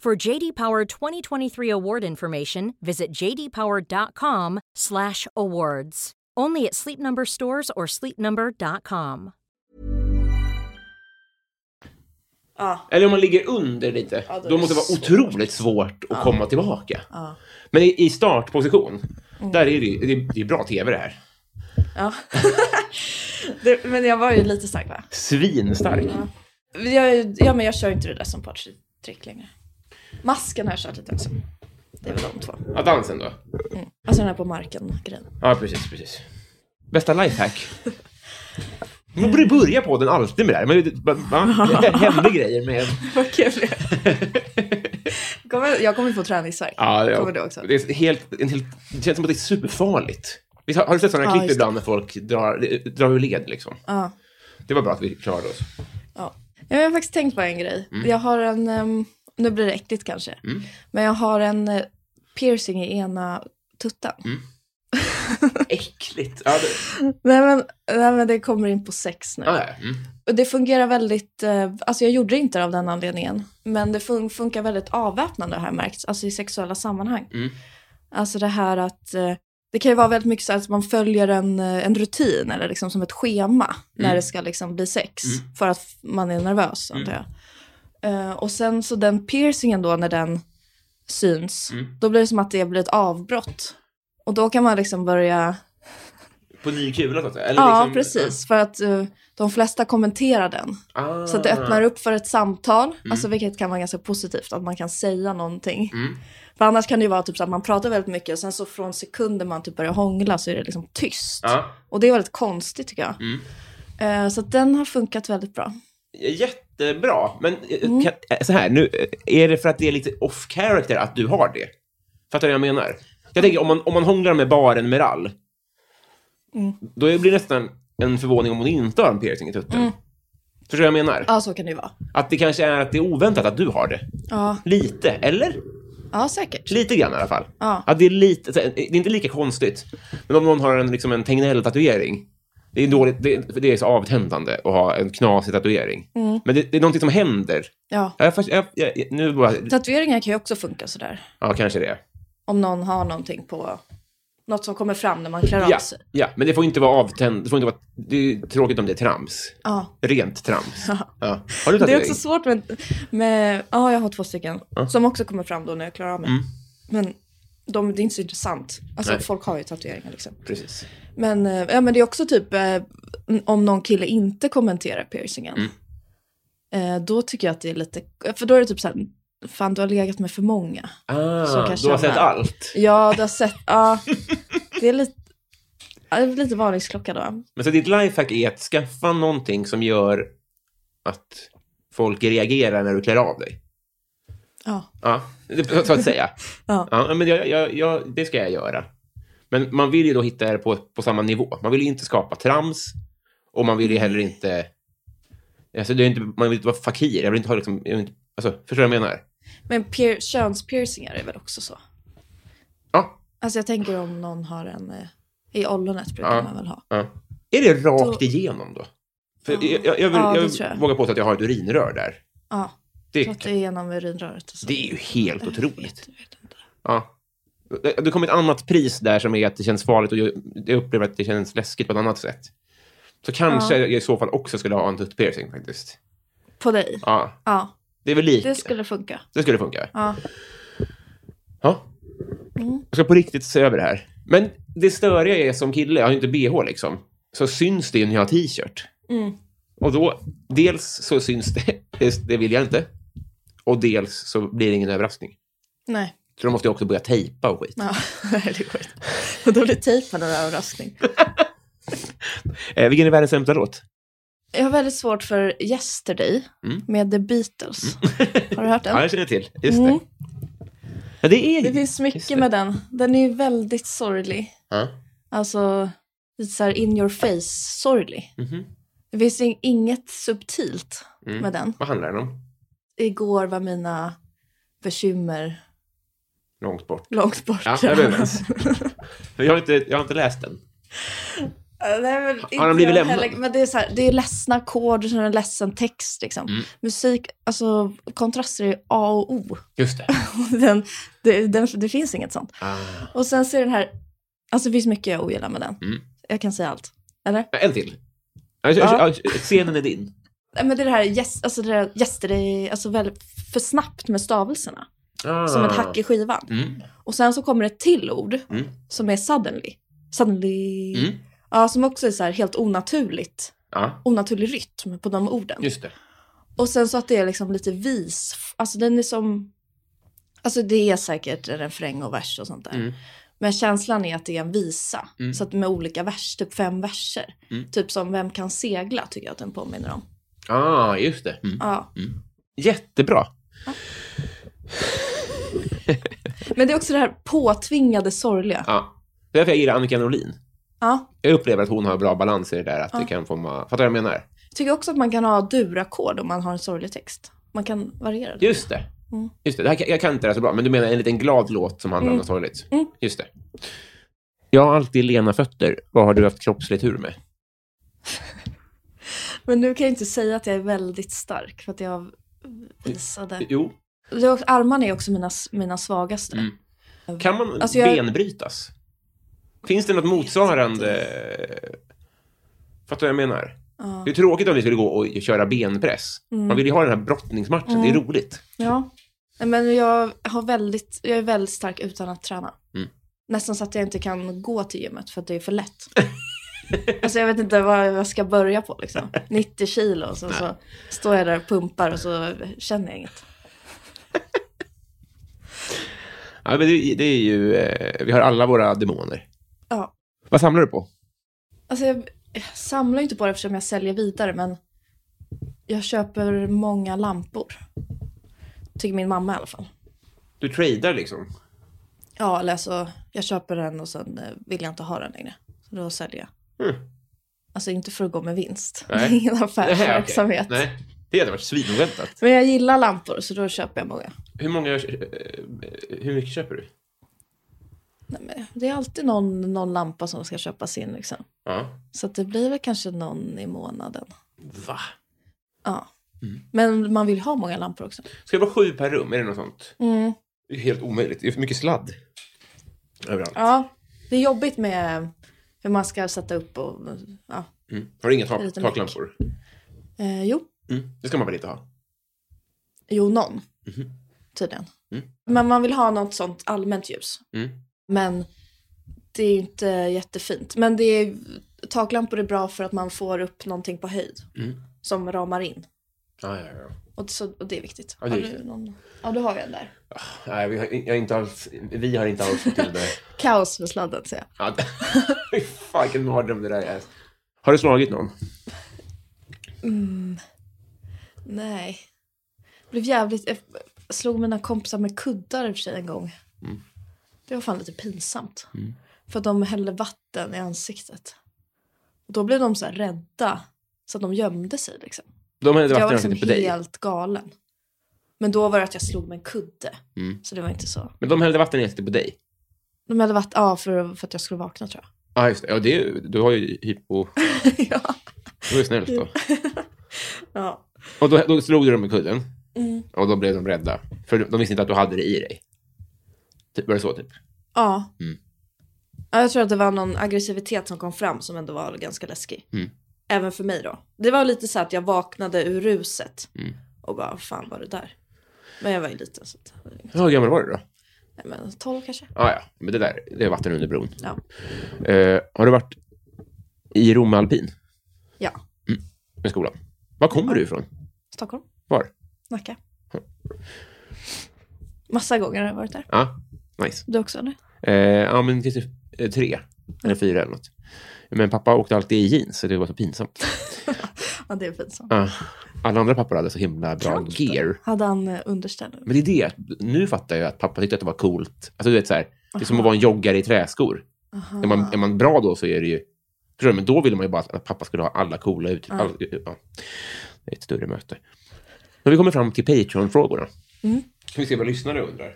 For JD Power 2023 award information, visit jdpower.com/awards. Only at Sleep Number stores or sleepnumber.com.
Ja,
eller om man ligger under lite,
Ja, då är
då,
det
måste det vara
svårt.
otroligt svårt att komma tillbaka.
ja, Mm.
Men i, i startposition, där är det, ju- det, är- det är bra tv det här.
ja. det, men jag var ju lite stark va?
Svinstark.
Mm. Jag, ja, men jag kör inte det där som partytrick längre. Masken har jag kört lite också. Det är väl de två.
Ja, dansen då.
Mm. Alltså den här på marken-grejen.
Ja, precis, precis. Bästa lifehack? Man borde börja på den alltid med det här. Man, man, det händer grejer med...
Vad kul det är. Kommer- Jag kommer få träningsvärk. Kommer du också?
Det, är helt, en helt, det känns som att det är superfarligt. Visst, har, har du sett sådana
Ja,
klipp
just
ibland när folk drar, drar ur led? Liksom?
Ja.
Det var bra att vi klarade oss.
Ja. Ja, Jag har faktiskt tänkt på en grej. Jag har en, ehm, nu blir det äckligt kanske, men jag har en eh, piercing i ena tuttan.
Äckligt. Ja, det,
Nej, men, nej men det kommer in på sex nu.
ja, ja. Mm.
Och det fungerar väldigt, eh, alltså jag gjorde det inte av den anledningen, men det fun- funkar väldigt avväpnande har jag märkt, alltså i sexuella sammanhang.
Mm.
Alltså det här att, eh, det kan ju vara väldigt mycket så att man följer en, eh, en rutin eller liksom som ett schema
Mm.
när det ska liksom bli sex, för att f- man är nervös antar jag. Eh, och sen så den piercingen då när den syns,
Mm.
då blir det som att det blir ett avbrott. Och då kan man liksom börja
På ny kula, så att säga. Eller
Ja,
liksom-
precis. För att eh, då de flesta kommenterar den.
Ah.
Så att det öppnar upp för ett samtal,
Mm.
alltså vilket kan vara ganska positivt, att man kan säga någonting.
Mm.
För annars kan det ju vara typ så att man pratar väldigt mycket och sen så från sekunden man typ börjar hångla så är det liksom tyst.
Ja.
Och det är väldigt konstigt tycker jag.
Mm.
Eh, Så att den har funkat väldigt bra.
Jättebra. Men eh,
Mm.
kan, eh, så här, nu, eh, är det för att det är lite off character att du har det? Fattar du vad jag menar? Jag tänker, om man, om man hånglar med baren Meral,
Mm.
då blir det nästan en förvåning om hon inte har en piercing i tutten.
Mm.
Förstår du vad jag menar?
Ja, så kan det ju vara.
Att det kanske är att det är oväntat att du har det.
Ja,
Lite, eller?
ja säkert.
Lite grann i alla fall.
Typ. Ja.
Att det, är lite, så här, det är inte lika konstigt. Men om någon har en, liksom en Tegnell-tatuering, det är, dåligt, det, för det är så avtändande att ha en knasig tatuering.
Mm.
Men det, det är någonting som händer.
Ja.
Jag, fast- jag, jag, nu bara...
Tatueringar kan ju också funka sådär.
Ja, kanske det.
Om någon har någonting på, något som kommer fram när man klär av
Ja,
sig.
ja, men det får inte vara avtänd. Det, får inte vara, det är ju tråkigt om det är trams.
Ja.
Rent trams. Ja. Har du
Det är
tatuering?
också svårt med, med ja jag har två stycken som också kommer fram då när jag klarar av mig. Men de, det är inte så intressant. Alltså
Mm. Nej.
folk har ju tatueringar liksom.
Precis.
Men, eh, ja, men det är också typ eh, om någon kille inte kommenterar piercingen.
Mm.
Eh, då tycker jag att det är lite, för då är det typ så här, fan du har legat med för många. Som
Ah,
kan
du har
känna-
sett allt.
Ja, du har sett, ja. Det är lite, ja, det är lite varningsklocka då.
Men så ditt lifehack är att skaffa någonting som gör att folk reagerar när du klär av dig.
Ja.
Ja, det- så att säga.
Ja.
men jag, jag, jag, det ska jag göra. Men man vill ju då hitta det på, på samma nivå. Man vill ju inte skapa trams och man vill ju heller inte... Alltså, det är inte man vill inte vara fakir. Jag vill inte ha liksom... Jag vill inte, alltså, förstår du vad jag menar?
Men pier, könspiercingar är väl också så?
Ja.
Alltså jag tänker om någon har en, eh, i ollonet brukar
Ja.
man väl ha.
ja. Är det rakt
Då-
igenom då? För jag, jag, jag, vill,
Ja, det tror
jag
jag.
vågar påstå att jag har ett urinrör där.
Ja,
Det,
så att det är genom urinröret och så.
det är ju helt
Jag
otroligt.
vet, jag vet inte.
Ja. Det det kommer ett annat pris där som är att det känns farligt och jag, jag upplever att det känns läskigt på ett annat sätt. Så kanske
Ja.
jag i så fall också skulle ha en tuttpiercing faktiskt.
På dig?
Ja,
Ja,
det är väl lika.
det skulle funka.
det skulle funka.
Ja. Mm.
Ja. Jag ska på riktigt se över det här. Men det störiga är som kille, jag har ju inte bh liksom, så syns det ju när jag har t-shirt.
Mm.
Och då, dels så syns det, det- det vill jag inte, och dels så blir det ingen överraskning.
Nej.
Så då måste jag också börja tejpa och skit.
Ja, nej, det går inte. Och Då blir tejpen en överraskning.
Eh, vilken är världens sämsta låt?
Jag har väldigt svårt för Yesterday
Mm.
med The Beatles. Har du hört
Ja,
den?
jag känner till. Just
Mm.
det. Ja, det är
Det
ju...
finns
Just det.
mycket med den. Den är ju väldigt sorglig.
Ja.
Alltså, lite så här in your face sorglig.
Mhm.
Det finns in- inget subtilt
Mm.
med den.
Vad handlar den om?
Igår var mina bekymmer
Långt bort.
långt borta.
Ja, jag är överens. Jag har inte, jag har inte läst den.
Ja, det är väl inte
han blivit
jag
lämnad?
heller. Men det är, så här, det är ledsna ackord och sen en ledsen text. Liksom.
Mm.
Musik, alltså kontraster är A och O.
Just det.
Och den, det, den, det finns inget sånt.
Ah.
Och sen så är den här, alltså det finns mycket jag ogillar med den.
Mm.
Jag kan säga allt. Eller?
Ja, En till. Ja, kör-
Ja.
kör- Scenen är din.
Nej, Men det är det här, yes, alltså det där yesterday, alltså väldigt för snabbt med stavelserna.
Ah.
Som ett hack i skivan.
Mm.
Och sen så kommer ett till ord
Mm.
som är suddenly. Suddenly.
Mm.
Ja, som också är så här helt onaturligt.
Ja,
Onaturlig rytm på de orden.
just det.
Och sen så att det är liksom lite vis. Alltså den är som... Alltså det är säkert en refräng och vers och sånt där.
Mm.
Men känslan är att det är en visa.
Mm.
Så att med olika vers, typ fem verser.
Mm.
Typ som Vem kan segla tycker jag att den påminner om.
Ah, just det. Mm.
Ja.
Jättebra.
Men det är också det här påtvingade sorgliga. Ja.
Ja. Det är därför jag gillar Annika Norlin.
ja.
Jag upplever att hon har bra balans i det där. Att det kan forma... Fattar du vad jag menar?
Jag tycker också att man kan ha durackord om man har en sorglig text. Man kan variera det.
Just det.
Mm.
Just det. det här, kan- jag kan inte det här så bra, men du menar en liten glad låt som handlar om något sorgligt?
Mm.
Just det. Jag har alltid lena fötter. Vad har du haft kroppslig tur med?
Men nu kan jag inte säga att jag är väldigt stark för att jag visade.
Jo.
Det är också- Armarna är också mina, mina svagaste.
Mm. Kan man
Alltså, jag-
benbrytas? Finns det något motsvarande... Fattar du vad jag menar? Det är tråkigt om vi skulle gå och köra benpress. Man vill ju ha den här brottningsmatchen. Det är roligt.
Mm. Ja. Nej, Men jag, har väldigt, jag är väldigt stark utan att träna.
Mm.
Nästan så att jag inte kan gå till gymmet för att det är för lätt. Alltså jag vet inte vad jag ska börja på liksom. 90 kilo och så, så står jag där och pumpar och så känner jag inget.
Ja, men det, det är ju, eh, vi har alla våra demoner.
Ja.
Vad samlar du på?
Alltså jag, jag samlar ju inte på det eftersom jag säljer vidare men jag köper många lampor. Tycker min mamma i alla fall.
Du tradar liksom.
Ja, eller alltså jag köper den och sen eh, vill jag inte ha den längre. Så då säljer jag.
Mm.
Alltså inte för att gå med vinst. Det
Nej.
är ingen
Nej,
affärsverksamhet.
okej. Nej, det hade varit svinoväntat.
Men jag gillar lampor så då köper jag många.
Hur många, eh, hur mycket köper du?
Nej, men det är alltid någon, någon lampa som ska köpas in liksom.
Ja.
Så att det blir väl kanske någon i månaden.
Va?
Ja.
Mm.
Men man vill ha många lampor också.
Ska det vara sju per rum? Är det något sånt?
Mm.
Det är helt omöjligt. Det är för mycket sladd. Överallt.
Ja, det är jobbigt med hur man ska sätta upp och... Ja.
Mm. Har du inga
Det är
tak,
lite
taklampor?
Eh, jo,
Mm. Det ska man väl inte ha?
jo någon.
Mhm.
Tydligen. Men man vill ha något sånt allmänt ljus.
Mm.
Men det är ju inte jättefint. Men det är, taklampor är bra för att man får upp någonting på höjd.
Mm.
Som ramar in.
Ja, ja, ja.
Och, så, och det är viktigt.
Ja, det är
har du
viktigt.
någon? Ja, du har ju en där.
Nej, vi har, jag har inte alls, vi har inte alls fått till det.
Kaos för sladden säger jag.
Ja, fy fan, vilken mardröm det där är. Har du slagit någon?
Nej. Det blev jävligt... Jag slog mina kompisar med kuddar i och för sig en gång.
Mm.
Det var fan lite pinsamt. För att de hällde vatten i ansiktet. Och då blev de så här rädda. Så att de gömde sig liksom.
De hade
jag var
varit
liksom
liksom på dig.
helt galen. Men då var det att jag slog med en kudde.
Mm.
Så det var inte så.
Men de hällde vatten i ansiktet på dig.
De hällde vatten, ja för, för att jag skulle vakna tror jag.
Ja, just det. Ja, det är, ju- du har ju hypo...
ja.
Det var ju snällt då.
ja. Mm.
Och då, då slog du dem med kudden. Och då blev de rädda. För de visste inte att du hade det i dig. Typ, var det så, typ?
Ja.
Mm.
ja. Jag tror att det var någon aggressivitet som kom fram som ändå var ganska läskig.
Mm.
Även för mig då. Det var lite så att jag vaknade ur ruset.
Mm.
Och bara, fan var det där? Men jag var ju liten så att,
Ja, Hur gammal var du då?
nej men 12 kanske.
Ah, ja, men det där, det är vatten under bron.
Ja.
Eh, har du varit i Romme alpin
Ja,
med skolan? Var kommer du ifrån?
Stockholm,
Var?
Nacka. Massa gånger har jag varit där.
Ja, nice.
Du också eller?
Eh, ja, men kanske eh, tre eller fyra eller något. Men pappa åkte alltid i jeans, så det var så pinsamt.
Ja, det är pinsamt.
Ja. alla andra pappor hade så himla bra
Kallt då.
gear.
Hade han eh, underställ?
Men det är det, nu fattar jag att pappa tyckte att det var coolt. Alltså, du vet, så här, det är som att vara en joggare i träskor. Är man, är man bra då så är det ju... Förstår du? Men då ville man ju bara att pappa skulle ha alla coola ut. All, ja. Det är ett större möte. Men vi kommer fram till Patreon-frågorna. Ska vi se vad lyssnare undrar?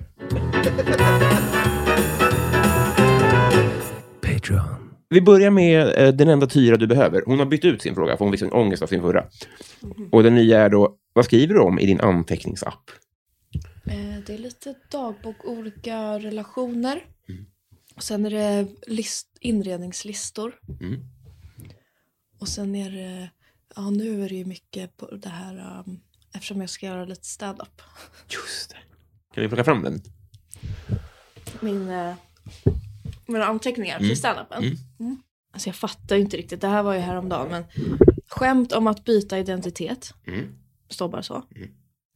Vi börjar med eh, den enda Tyra du behöver. Hon har bytt ut sin fråga, för hon fick sån ångest av sin förra. Och den nya är då, vad skriver du om i din anteckningsapp?
Eh, Det är lite dagbok, olika relationer. Och sen är det list, inredningslistor.
Mm.
Och sen är det, ja nu är det ju mycket på det här, um, eftersom jag ska göra lite stand-up.
Just det. Kan vi plocka fram den?
Min, eh, mina anteckningar till stand-upen. Mm. Alltså jag fattar ju inte riktigt, det här var ju häromdagen, men skämt om att byta identitet.
Mm.
Står bara så.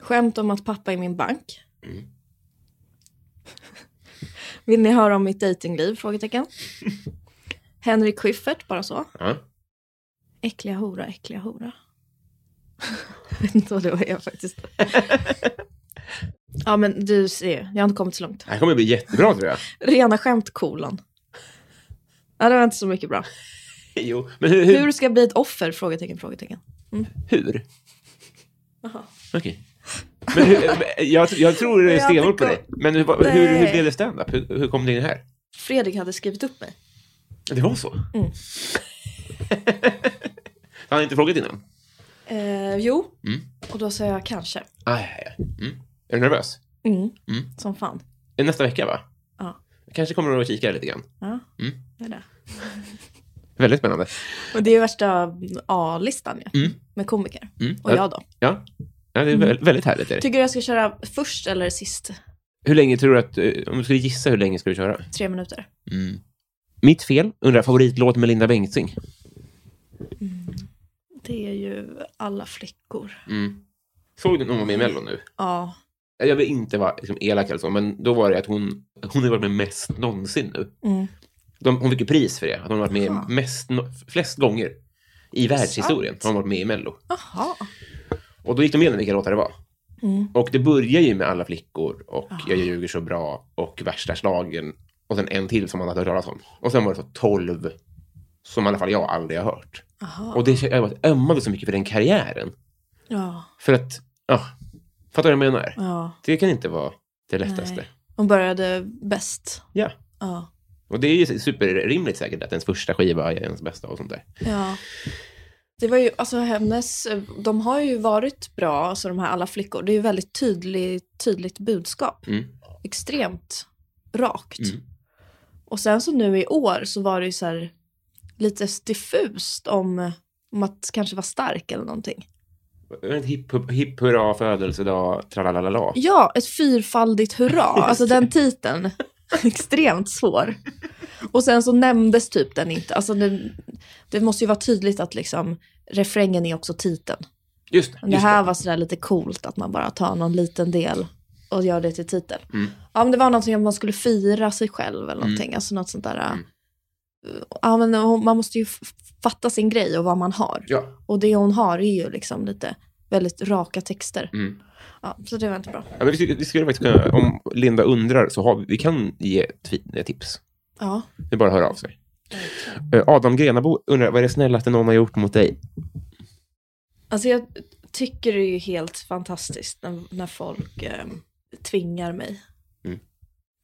Skämt om att pappa är min bank. Vill ni höra om mitt dejtingliv? Frågetecken. Henrik Schyffert, bara så.
Ja.
Äckliga hora, äckliga hora. jag vet inte vad det var jag faktiskt. ja men du ser, jag har inte kommit så långt.
Det här kommer bli jättebra tror jag.
Rena skämt kolon. Ja, det var inte så mycket bra.
Jo, men hur? Hur?
Hur ska jag bli ett offer? Frågetecken, frågetecken.
hur? Okej. Men hur, eh, jag, jag tror det är
Jag hade
stenhårt på
kom-
dig. Men hur, hur, hur,
Nej.
blev det stand-up? Hur, hur kom det in här?
Fredrik hade skrivit upp mig.
Det var så? Han har inte frågat innan?
Eh, jo,
Mm.
och då sa jag kanske.
Ah, ja, ja. Mm. Är du nervös?
Mm.
Mm.
Som fan.
Det är Nästa vecka, va?
Ja.
Jag kanske kommer du att kika lite grann.
Ja,
Mm.
det är det.
Väldigt spännande.
Och det är ju värsta A-listan ju,
Mm.
med komiker.
Mm.
Och jag då.
Ja. ja, det är vä- väldigt härligt. Är det.
Tycker du jag ska köra först eller sist?
Hur länge tror du att... eh, Om du skulle gissa, hur länge ska du köra?
Tre minuter.
Mitt fel undrar favoritlåt med Linda Bengtzing.
Det är ju alla flickor.
Mm. Såg du någon var med i Mello nu?
Ja.
Jag vill inte vara liksom, elak eller så, men då var det att hon, hon har varit med mest någonsin nu.
Mm.
De, hon fick ju pris för det, att hon har varit med
Jaha.
mest, no- flest gånger i världshistorien.
Sant.
Har hon varit med i Mello.
Jaha.
Och då gick de igenom vilka låtar det var.
Mm.
Och det börjar ju med Alla flickor och
Ja.
Jag ljuger så bra och Värsta slagen och sen en till som man hade hört talas om. Och sen var det så tolv som i alla fall jag aldrig har hört.
Jaha.
Och det, jag ömmade så mycket för den karriären.
Ja.
För att, ja, fattar du vad jag menar?
ja.
Det kan inte vara det lättaste.
Nej. Hon började bäst.
Ja.
Ja.
Och det är ju superrimligt säkert att ens första skiva är ens bästa och sånt där.
Ja. Det var ju, alltså hennes, de har ju varit bra, alltså de här alla flickor. Det är ju väldigt tydligt, tydligt budskap.
Mm.
Extremt rakt.
Mm.
Och sen så nu i år så var det ju så här lite diffust om, om att kanske vara stark eller någonting.
Var det inte Hipp hip, hurra födelsedag, tralalala.
Ja, ett fyrfaldigt hurra. Alltså den titeln. Extremt svår. Och sen så nämndes typ den inte. Alltså det, det måste ju vara tydligt att liksom refrängen är också titeln.
Just det.
Men det
Just
här
det.
var sådär lite coolt att man bara tar någon liten del och gör det till titel.
Mm.
Ja, men det var någonting om man skulle fira sig själv eller någonting. Alltså något sånt där. äh,
Mm.
Ja, men hon- man måste ju f- fatta sin grej och vad man har.
Ja.
Och det hon har är ju liksom lite väldigt raka texter.
Mm.
Ja, så det var inte bra.
Ja, men vi, skulle- vi skulle faktiskt kunna, om Linda undrar så har vi, vi kan ge tvi- tips.
Ja.
Det är bara att höra av sig. Eh, Adam Grenabo undrar, vad är det snällaste någon har gjort mot dig?
Alltså jag tycker det är ju helt fantastiskt när, när folk eh, tvingar mig.
Mm.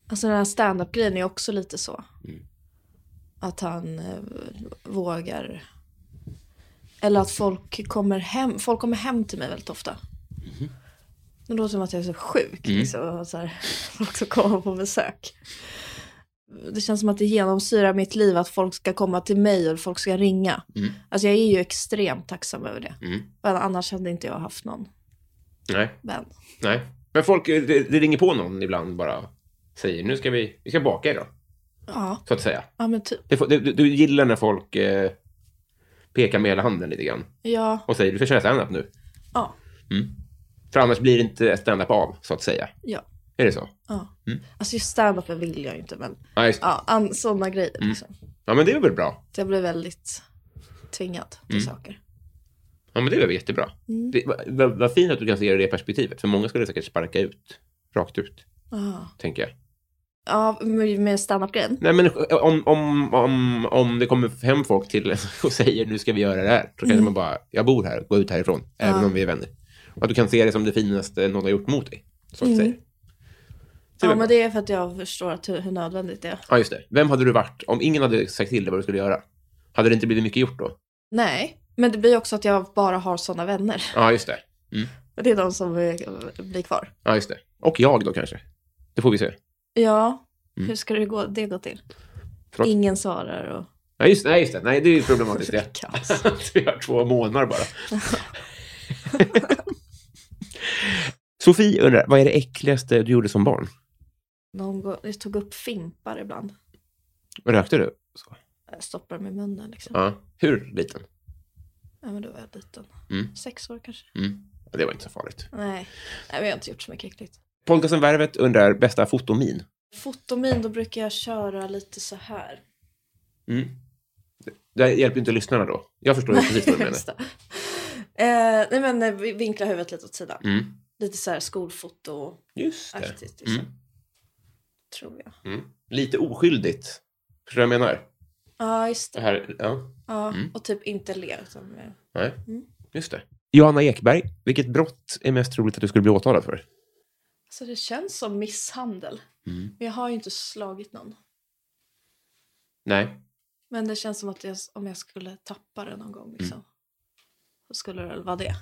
Alltså den här standup-grejen är också lite så.
Mm.
Att han eh, vågar. Eller att folk kommer hem, folk kommer hem till mig väldigt ofta. Det låter som att jag är så sjuk.
Mm-hmm. Mm.
Liksom, och så här, folk som kommer på besök. Det känns som att det genomsyrar mitt liv att folk ska komma till mig och folk ska ringa.
Mm.
Alltså jag är ju extremt tacksam över det.
Mm.
Men annars hade inte jag haft någon
Nej,
vän.
nej. Men folk, eh, det, det ringer på någon ibland bara. Säger, nu ska vi, vi ska baka idag,
Ja,
så att säga.
ja men typ.
Det, får- du, du- du gillar när folk eh, pekar med hela handen lite grann.
Ja,
Och säger, du ska köra stand-up nu.
ja,
För annars blir det inte stand-up av, så att säga.
ja.
Är det så?
ja. Alltså just standupen vill jag ju inte men
Ja, just,
ja, an- sådana grejer. Liksom.
ja men det är väl bra.
Så jag blev väldigt tvingad till saker.
Ja, men det är väl jättebra.
Mm.
Det, vad, vad, vad fint att du kan se det i det perspektivet. För många skulle säkert sparka ut, rakt ut,
Ja,
tänker jag.
ja med med standup-grejen.
Nej, men om, om, om, om det kommer hem folk till en och säger nu ska vi göra det här, så kanske
Mm.
man bara, jag bor här, gå ut härifrån, även om vi är vänner. Och att du kan se det som det finaste någon har gjort mot dig, så
Mm.
att säga.
Ja,
väl
men det är för att jag förstår att hur, hur nödvändigt det är.
Ja, just det. Vem hade du varit, om ingen hade sagt till dig vad du skulle göra? Hade det inte blivit mycket gjort då?
Nej, men det blir också att jag bara har sådana vänner.
Ja, just det. Mm.
Och det är de som eh, blir kvar.
Ja, just det. Och jag då kanske. Det får vi se.
Ja, hur ska det gå, det gå till?
Förlåt?
Ingen svarar och...
Ja, just det. Nej, just det. Nej, det är ju problematiskt. Det.
Kaos.
Vi har två månader bara. Sofie undrar, vad är det äckligaste du gjorde som barn?
Någon gång, jag tog upp fimpar ibland.
Rökte du? Så.
Jag stoppar dem i munnen liksom.
Ja. Hur liten?
Ja, men då var jag liten.
Mm.
Sex år kanske.
Mm. Ja, Det var inte så farligt.
Nej. Nej, men jag har inte gjort så mycket äckligt.
Podcasten Värvet undrar, bästa fotomin?
Fotomin, då brukar jag köra lite så här.
Mm. Det hjälper ju inte lyssnarna då. Jag förstår ju precis vad du menar.
Just det. eh, nej men eh, vi- vinkla huvudet lite åt sidan.
Mm.
Lite så här skolfotoaktigt
Just det.
liksom.
Mm.
Tror jag.
Mm. Lite oskyldigt. Förstår du vad jag menar?
Ja just
Det
det.
här, ja.
Ja,
Mm.
Och typ inte le. Utan, eh,
Nej. Just det. Johanna Ekberg, vilket brott är mest troligt att du skulle bli åtalad för?
alltså det känns som misshandel.
Mm.
Men jag har ju inte slagit någon.
Nej.
Men det känns som att jag, om jag skulle tappa det någon gång liksom.
Mm.
Så skulle det väl vara det.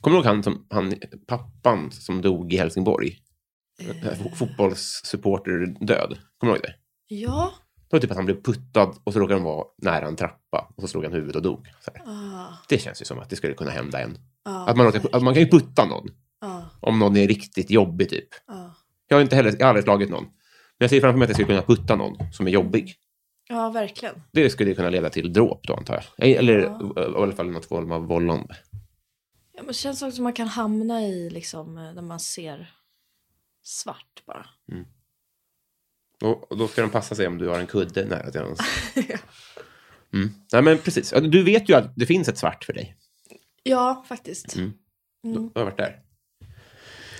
Kommer du ihåg han, som, han, pappan som dog i Helsingborg? Eh. Fotbollssupporterdöd. Kommer du ihåg det?
Ja.
Det var typ att han blev puttad och så råkade han vara nära en trappa och så slog han huvudet och dog. Så här.
Ah,
Det känns ju som att det skulle kunna hända en.
ah,
Att man, råkar, att man kan ju putta någon
ah,
om någon är riktigt jobbig typ.
ah.
Jag har, inte heller, jag har aldrig slagit någon. Men jag ser framför mig att jag skulle kunna putta någon som är jobbig.
Ja, verkligen.
Det skulle ju kunna leda till dråp då, antar jag. Eller eh, i alla fall något form av vållande.
Ja, men det känns också som man kan hamna i liksom eh, när man ser svart bara.
Och, och då ska de passa sig om du har en kudde nära till hans. Mm. Nej, men precis. Ja, Du vet ju att det finns ett svart för dig.
Ja, faktiskt.
Mm.
Mm.
Du har varit där.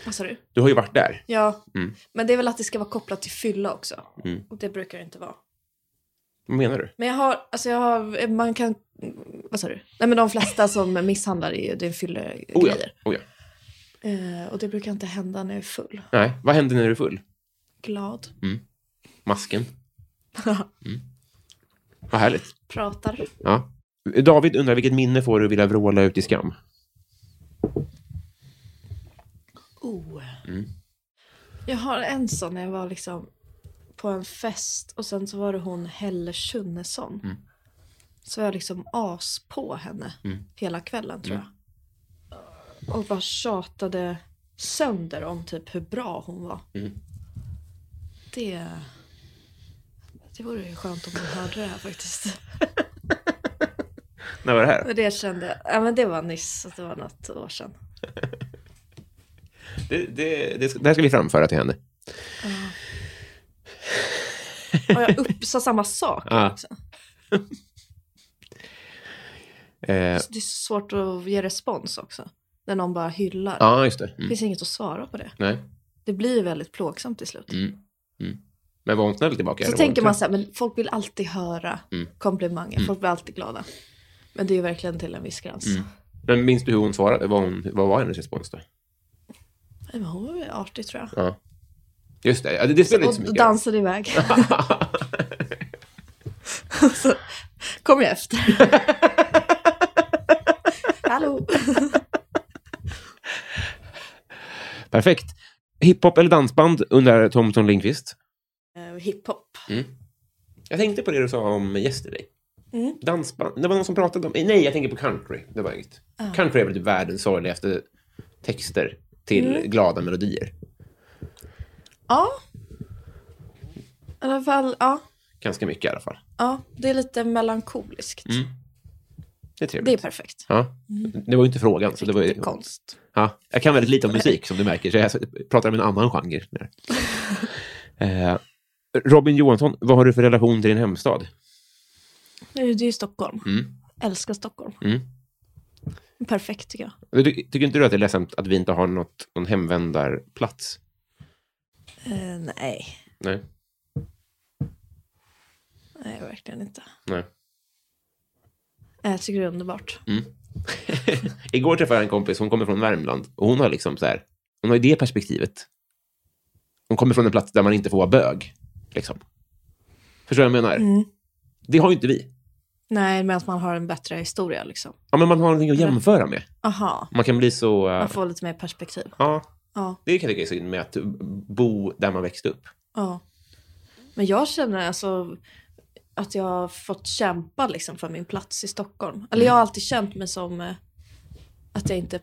Vad sa du?
Du har ju varit där.
Ja,
Mm.
men det är väl att det ska vara kopplat till fylla också.
Mm.
Och det brukar det inte vara.
Vad menar du?
Men jag har, alltså jag har, man kan, vad sa du? Nej men de flesta som misshandlar är ju, det är fyllegrejer.
Oh ja. Oh ja.
eh, och det brukar inte hända när jag är full.
Nej, vad händer när du är full?
Glad,
Mm. Masken. Mm. Vad härligt.
pratar.
Ja. David undrar vilket minne får du att vilja vråla ut i skam?
Oh. Jag har en sån när jag var liksom på en fest och sen så var det hon Helle Schunnesson. Så var jag liksom as på henne hela kvällen tror jag. Och bara tjatade sönder om typ hur bra hon var. Det, det vore ju skönt om hon hörde det här faktiskt.
När var det här?
Men det kände jag, ja men det var nyss, så det var något år sedan.
Det, det, det, ska- det här ska vi framföra till henne.
Och jag upp, sa samma sak
Ja.
också.
Eh,
Så Det är så svårt att ge respons också. När någon bara hyllar.
ja, just det.
Det
Mm.
finns inget att svara på det.
Nej.
Det blir väldigt plågsamt till slut.
Mm, Men var hon snäll tillbaka?
Så
eller var hon
tänker man
trött?
så här, men folk vill alltid höra
Mm.
komplimanger. Folk blir alltid glada. Men det är ju verkligen till en viss gräns.
Mm. Men minns du hur hon svarade? Vad, hon, vad var hennes respons då?
Nej, Men hon var ju artig tror jag.
Ja. Just det, ja, det, det spelar inte så
Och
mycket roll.
dansade iväg. så kom jag efter. Hallå.
Perfekt. Hiphop eller dansband undrar Tomton Lindqvist.
Eh, Hiphop.
Mm. Jag tänkte på det du sa om yesterday.
Mm.
Dansband. Det var någon som pratade om... Nej, jag tänker på country. Det var inget.
Ah.
Country är väl typ världens sorgligaste texter till
Mm.
glada melodier.
Ja. I alla fall, ja.
Ganska mycket i alla fall.
ja. Det är lite melankoliskt.
Mm. Det är trevligt.
Det är perfekt.
Ja. Det var ju inte frågan. Så det var ju...
Riktig konst.
Ja, jag kan väldigt lite om musik som du märker, så jag pratar om en annan genre. nu. Eh, Robin Johansson, vad har du för relation till din hemstad?
Nu, det är ju Stockholm.
Mm.
Älskar Stockholm.
Mm.
Perfekt tycker jag.
Du, tycker inte du att det är ledsamt att vi inte har något, någon hemvändarplats?
Eh, nej,
Nej.
nej verkligen inte.
Nej.
Nej, Jag tycker det är underbart.
Mm. Igår träffade jag en kompis, hon kommer från Värmland. Och hon har liksom så här, hon har ju det perspektivet. Hon kommer från en plats där man inte får vara bög. Liksom. Förstår du vad jag menar? Det har ju inte vi.
Nej, men att man har en bättre historia liksom.
Ja, men man har någonting att jämföra med.
Aha,
Man kan bli så... eh,
man får lite mer perspektiv.
ja,
Ja,
det kan jag tycka är synd med att bo där man växte upp.
ja. Men jag känner alltså att jag har fått kämpa liksom för min plats i Stockholm. Eller jag
Mm.
har alltid känt mig som eh, att jag inte,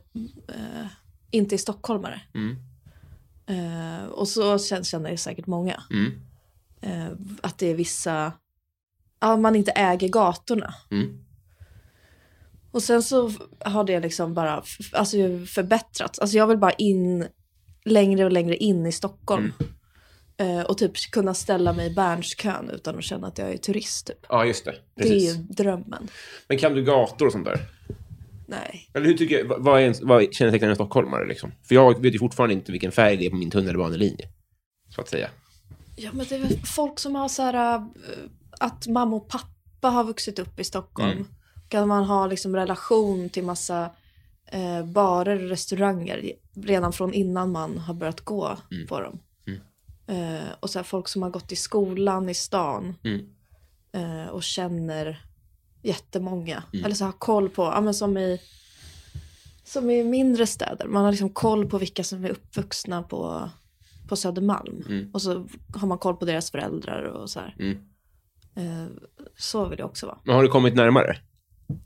eh, inte är stockholmare.
Mm.
Eh, och så kän- känner jag säkert många.
Mm.
eh, att det är vissa, ja man inte äger gatorna.
Mm.
Och sen så f- har det liksom bara f- alltså förbättrats. Alltså jag vill bara in längre och längre in i
Mm.
Stockholm. Eh, och typ kunna ställa mig i Berns-kön utan att känna att jag är turist. Typ.
Ja, just det.
Det
Precis.
är ju drömmen.
Men kan du gator och sånt där?
Nej.
Eller hur tycker jag, vad- vad, är en, vad kännetecknar en stockholmare? Liksom? För jag vet ju fortfarande inte vilken färg det är på min tunnelbanelinje. Så att säga.
Ja men det är väl folk som har så här eh, att mamma och pappa har vuxit upp i Stockholm. Kan man ha liksom relation till massa eh, barer och restauranger redan från innan man har börjat gå på dem. Eh, och så här, folk som har gått i skolan i stan
Mm.
eh, och känner jättemånga. Eller så har koll på, ja men som i som i mindre städer. Man har liksom koll på vilka som är uppvuxna på, på Södermalm. Och så har man koll på deras föräldrar och så här.
Mm.
Eh, så vill det också vara.
Men har du kommit närmare?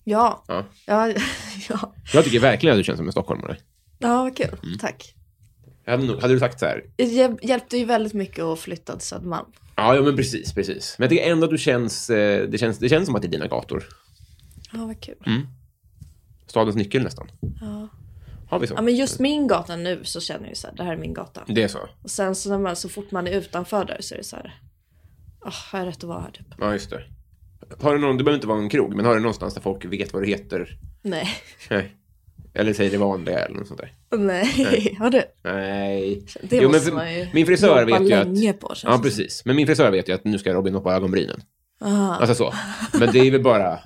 Ja.
Ja.
Ja, ja.
Jag tycker verkligen att du känns som en stockholmare.
ja vad kul.
Mm.
Tack.
Jag hade, nog, hade du sagt så här,
Det hjäl- hjälpte ju väldigt mycket att flytta till Södermalm.
Ja, ja, men precis, precis. Men jag tycker ändå att du känns, eh, det känns... Det känns som att det är dina gator.
Ja, vad kul.
Mm. Stadens nyckel nästan.
Ja.
Har vi så?
ja, men just min gata nu så känner jag ju så här, det här är min gata.
Det är så?
Och sen så, när man, så fort man är utanför där så är det så här, ah, har jag rätt att vara här typ?
Ja, just det. Har du någon, det behöver inte vara en krog, men har du någonstans där folk vet vad du heter?
Nej,
Nej. Eller säger det vanliga eller något sånt där?
nej, har du?
Nej.
Det
Jo, men
måste
för-
man ju
min frisör
jobba
vet ju
länge
att...
på känns
Ja,
det.
precis. Men min frisör vet ju att nu ska Robin hoppa ögonbrynen. Alltså så. Men det är väl bara...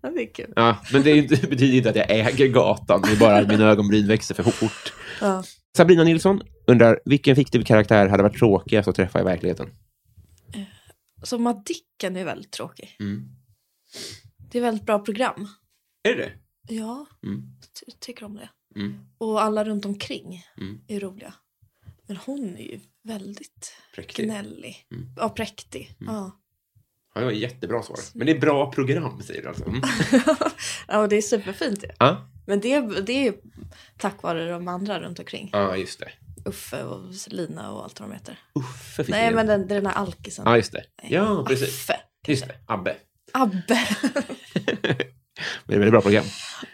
Ja, det är kul.
Ja, men det, är ju inte, det betyder inte att jag äger gatan. Det är bara att mina ögonbryn växer för fort.
Ja.
Sabrina Nilsson undrar, vilken fiktiv karaktär hade varit tråkigast att träffa i verkligheten?
Så Madicken är väldigt tråkig.
Mm.
Det är väldigt bra program.
Är det
Ja,
Mm.
jag ty- tycker om det.
Mm.
Och alla runt omkring
Mm.
är roliga. Men hon är ju väldigt
Präktig. Mm.
gnällig. Ja, präktig. Ja.
Ja, det var ett jättebra svar. Men det är bra program, säger du alltså. Mm.
ja, och det är superfint det.
Ja,
Men det, det är ju tack vare de andra runt omkring.
ja just det.
Uffe och Selina och allt vad de heter.
Uffe fick
Nej,
ingen.
men den, den här alkisen.
Ja, just det. Ja, precis.
Affe.
Just det. Abbe.
Abbe.
Men det är ett väldigt bra program.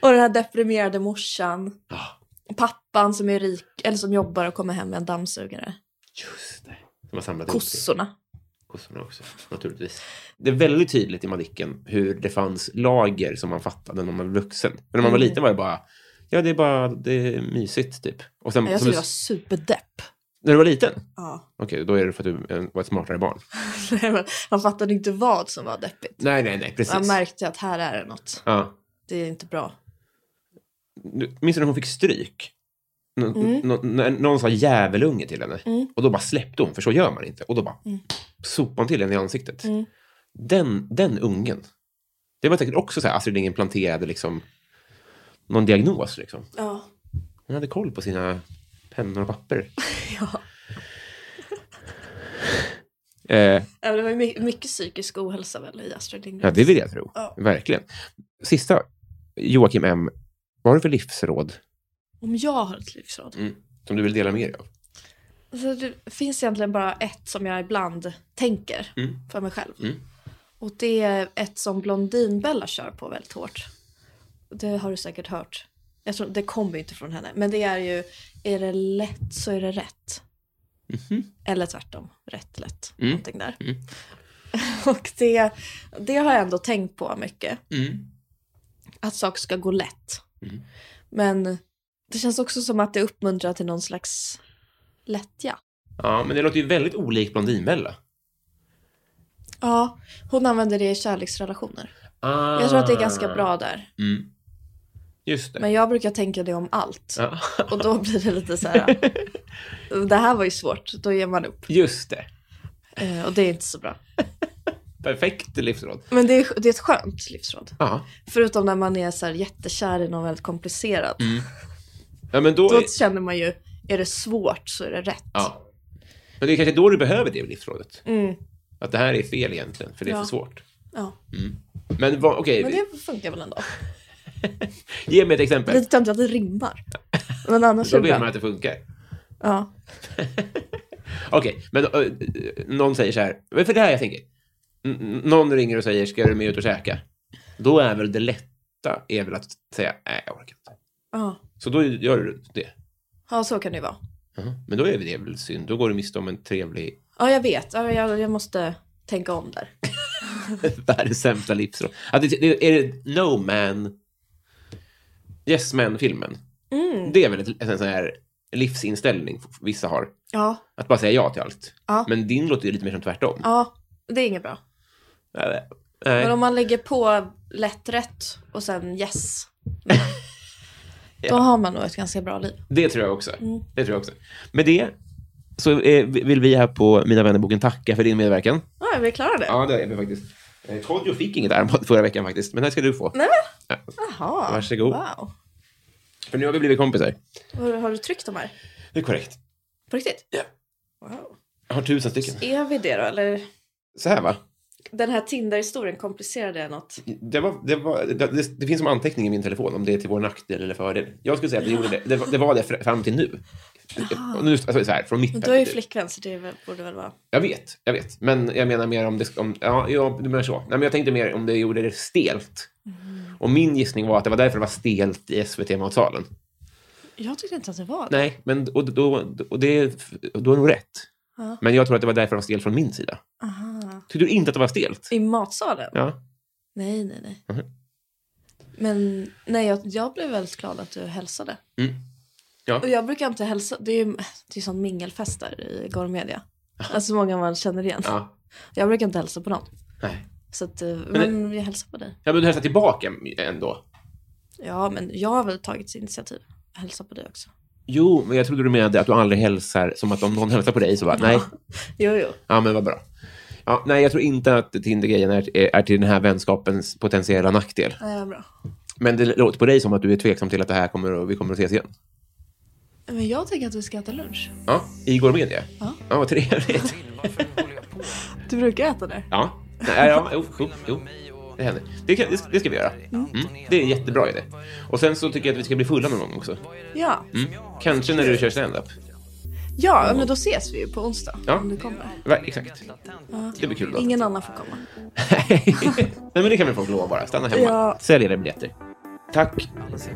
och den här deprimerade morsan.
Ja,
Pappan som är rik, eller som jobbar och kommer hem med en dammsugare.
just det. De har samlat ihop det.
Kossorna.
kossorna också, naturligtvis. Det är väldigt tydligt i Madicken hur det fanns lager som man fattade när man var vuxen. Men när man
Mm.
var liten var det bara, ja det är bara, det är mysigt typ. Och sen,
Ja, Jag
som
skulle
du,
vara superdepp.
När du var liten?
Ja.
Okej, då är det för att du eh, var ett smartare barn.
Nej, men Man fattade inte vad som var deppigt.
Nej, nej, nej, precis.
Man märkte att här är det något.
ja.
Det är inte bra.
Du- Minns du när hon fick stryk? Nå- nå- när någon sa djävulunge till henne. Och då bara släppte hon, för så gör man inte. Och då bara sopade hon till henne i ansiktet. Den, den ungen. Det var säkert också så här, Astrid Lindgren planterade liksom någon diagnos. Liksom.
Ja.
Hon hade koll på sina pennor och papper. ja. Eh,
Ja, men Det var ju my- mycket psykisk ohälsa väl i Astrid
ja,
Lindgren.
det vill jag tro.
Ja.
Verkligen. Sista, Joakim M. Vad har du för livsråd
Om jag har ett livsråd.
som du vill dela med dig av?
Alltså, det finns egentligen bara ett som jag ibland tänker för mig själv.
Mm.
Och det är ett som Blondinbella kör på väldigt hårt. Det har du säkert hört. Jag tror, det kommer ju inte från henne. Men det är ju, är det lätt så är det rätt.
Mhm.
Eller tvärtom, rätt lätt.
Mm.
Någonting där. Och det, det har jag ändå tänkt på mycket.
Mm.
Att saker ska gå lätt. Men det känns också som att det uppmuntrar till någon slags lättja.
Ja, men det låter ju väldigt olikt Blondinbella.
Ja, hon använder det i kärleksrelationer.
Ah.
Jag tror att det är ganska bra där.
Mm. Just det.
Men jag brukar tänka det om allt.
Ja.
Och då blir det lite så här, det här var ju svårt, då ger man upp.
Just det.
Eh, Och det är inte så bra.
Perfekt livsråd.
Men det är, det är ett skönt livsråd.
Ja.
Förutom när man är så här jättekär i någon väldigt komplicerad.
Mm. ja, men då...
Då känner man ju, är det svårt så är det rätt.
Ja. Men det är kanske då du behöver det livsrådet.
Mm.
Att det här är fel egentligen, för det är
Ja.
för svårt.
Ja.
Men vad- okej,
Men det funkar väl ändå.
ge mig ett exempel.
Lite töntigt att det rimmar. Men annars
Då
är det
vet man
bra.
att det funkar.
Ja.
Okej, men ö, ö, någon säger så här, men för det här jag tänker. N- n- Någon ringer och säger, ska du med ut och käka? Då är väl det lätta är väl att säga, nej, jag orkar inte.
Ja.
Så då gör du det.
ja, så kan det ju vara.
Jaha, Men då är det väl synd. Då går du miste om en trevlig...
Ja, jag vet. Ja, jag, jag måste tänka om där.
Världens sämsta livsråd. Att det, det, är det No Man... Yes Man-filmen?
Mm.
Det är väl ett, en sån här livsinställning vissa har.
Ja,
Att bara säga ja till allt.
Ja.
Men din låter ju lite mer som tvärtom.
ja. Det är inget bra.
Äh, Nej.
Men om man lägger på lätt rätt och sen yes. Då har man nog ett ganska bra liv.
Det tror jag också.
Mm.
Det tror jag också. Med det så eh, vill vi här på Mina vännerboken tacka för din medverkan.
Ja, är vi klara nu?
Ja, det är vi faktiskt. Eh, Kodjo fick inget armband förra veckan faktiskt, men det här ska du få.
Nej men,
Ja.
jaha.
Varsågod.
Wow.
För nu har vi blivit kompisar.
Har, du- har du tryckt de här?
Det är korrekt.
På riktigt?
Ja.
Wow.
Jag har tusen stycken.
Är vi det då, eller?
Så här va?
Den här Tinder-historien komplicerade jag något.
Det, var, det, var, det, det, det finns som anteckning i min telefon om det är till vår nackdel eller fördel. Jag skulle säga att det, gjorde det, det, var- det var det fr- fram till nu.
Jaha.
Nu, alltså, så här, från mitt
Men du har ju
perspektiv.
flickvän så det väl- borde väl vara...
Jag vet, jag vet. Men jag menar mer om det... Om, ja, ja, du menar så. Nej, men jag tänkte mer om det gjorde det stelt.
Mm.
Och min gissning var att det var därför det var stelt i SVT-matsalen.
Jag tyckte inte att det var det.
Nej, men och, då, och det, och då är nog rätt.
Ja.
Men jag tror att det var därför det var stelt från min sida.
Aha.
Tyckte du inte att det var stelt?
I matsalen?
Ja.
Nej, nej, nej.
Mhm.
Men nej, jag, jag blev väldigt glad att du hälsade.
Mm. Ja.
Och jag brukar inte hälsa. Det är ju det är sån mingelfest där i Gormedia. Alltså många man känner igen.
ja.
Jag brukar inte hälsa på någon.
Nej.
Så att, eh, men,
det-
jag hälsar på dig.
Ja, men du hälsade tillbaka ändå.
Ja, men jag har väl tagit initiativ. Jag hälsar på dig också.
Jo, men jag trodde du menade att du aldrig hälsar som att om någon hälsar på dig så bara, nej.
Jo, jo.
Ja, men vad bra. Ja, nej, jag tror inte att Tinder-grejen är, är till den här vänskapens potentiella nackdel.
Ja, bra.
Men det låter på dig som att du är tveksam till att det här kommer och vi kommer att ses igen.
Men jag tänker att vi ska äta lunch.
Ja, i går media.
Ja.
Ja, vad trevligt.
Du brukar äta där.
Ja, Nej, ja jo, jo, jo. Det händer. Det, kan, det, ska, det ska vi göra. Mm. Det är en jättebra idé. Och sen så tycker jag att vi ska bli fulla någon gång också.
Ja.
Mm. Kanske när du kör stand-up.
Ja, men då ses vi ju på onsdag.
Ja.
Om du kommer.
Va, exakt. Det blir kul då.
Ingen annan får komma.
Nej, men det kan väl folk lova bara. Stanna hemma.
Ja.
Sälj era biljetter. Tack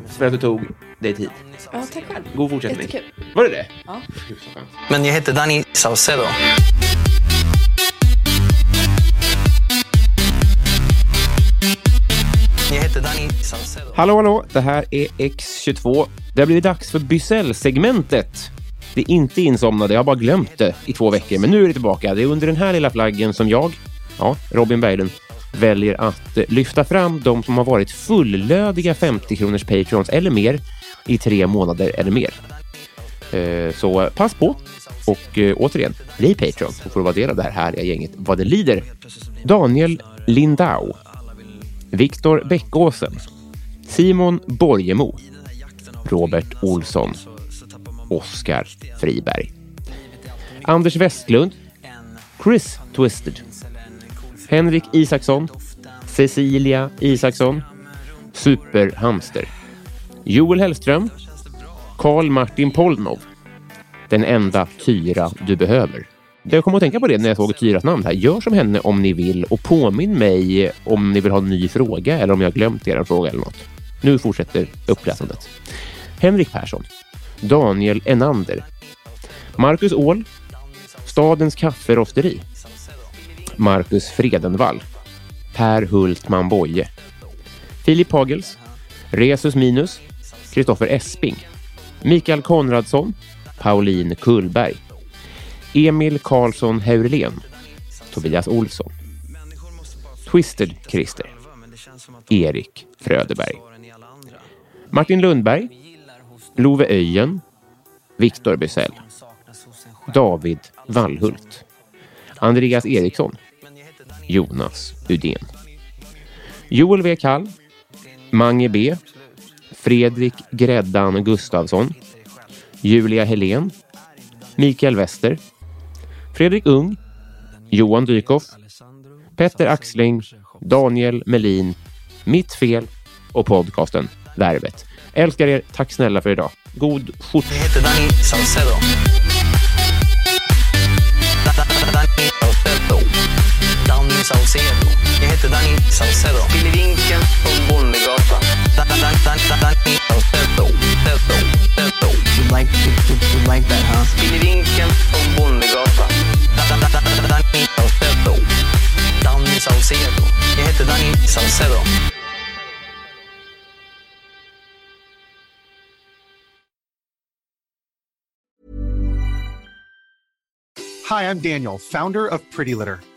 för att du tog dig tid.
Ja, tack själv.
God fortsättning.
Jättekul.
Var det det?
Ja.
Gud, så skönt.
Men jag heter Danny Saucedo. Jag heter Danny Saucedo.
Alltså. Hallå, hallå! Det här är X22. Det har blivit dags för Bysell-segmentet. Det är inte insomnade, jag har bara glömt det i två veckor. Men nu är det tillbaka. Det är under den här lilla flaggen som jag, ja, Robin Berglund, väljer att eh, lyfta fram de som har varit fullödiga 50-kronors patrons eller mer i tre månader eller mer. Eh, Så pass på och eh, återigen, bli Patreon och får vara del av det här härliga gänget vad det lider. Daniel Lindau, Viktor Bäckåsen, Simon Borgemo, Robert Olsson, Oskar Friberg, Anders Westlund, Chris Twisted, Henrik Isaksson, Cecilia Isaksson, Superhamster, Joel Hellström, Karl Martin Polnov, Den enda Tyra du behöver. Jag kom att tänka på det när jag såg Tyras namn här. Gör som henne om ni vill och påminn mig om ni vill ha en ny fråga eller om jag har glömt er fråga eller något. Nu fortsätter uppläsandet. Henrik Persson, Daniel Enander, Marcus Åhl, Stadens kafferosteri, Marcus Fredenvall, Per Hultman Boye, Filip Hagels, Resus Minus, Kristoffer Esping, Mikael Konradsson, Pauline Kullberg, Emil Karlsson Heurlen, Tobias Olsson, Twisted Christer, Erik Fröderberg, Martin Lundberg, Love Öjen, Viktor Bysell, David Wallhult, Andreas Eriksson, Jonas Udén, Joel W. Kall, Mange B, Fredrik Gräddan Gustafsson, Julia Helén, Mikael Wester, Fredrik Ung, Johan Dykhoff, Petter Axling, Daniel Melin, Mitt Fel och podcasten Värvet. Älskar er. Tack snälla för idag. God fortsättning.
Jag heter Danny Saucedo. Da- da- da- Danny Saucedo. Danny Saucedo. Jag heter Danny Saucedo. Spillevinken från Bondegatan. Da- da- da- da- da- Danny Saucedo. Saucedo. Saucedo. You like, you, you, you like that, huh? Spillevinken från Bondegatan. Da- da- da- da- da- Danny Saucedo. Danny Saucedo. Jag heter Danny Saucedo.
Hi, I'm Daniel, founder of Pretty Litter.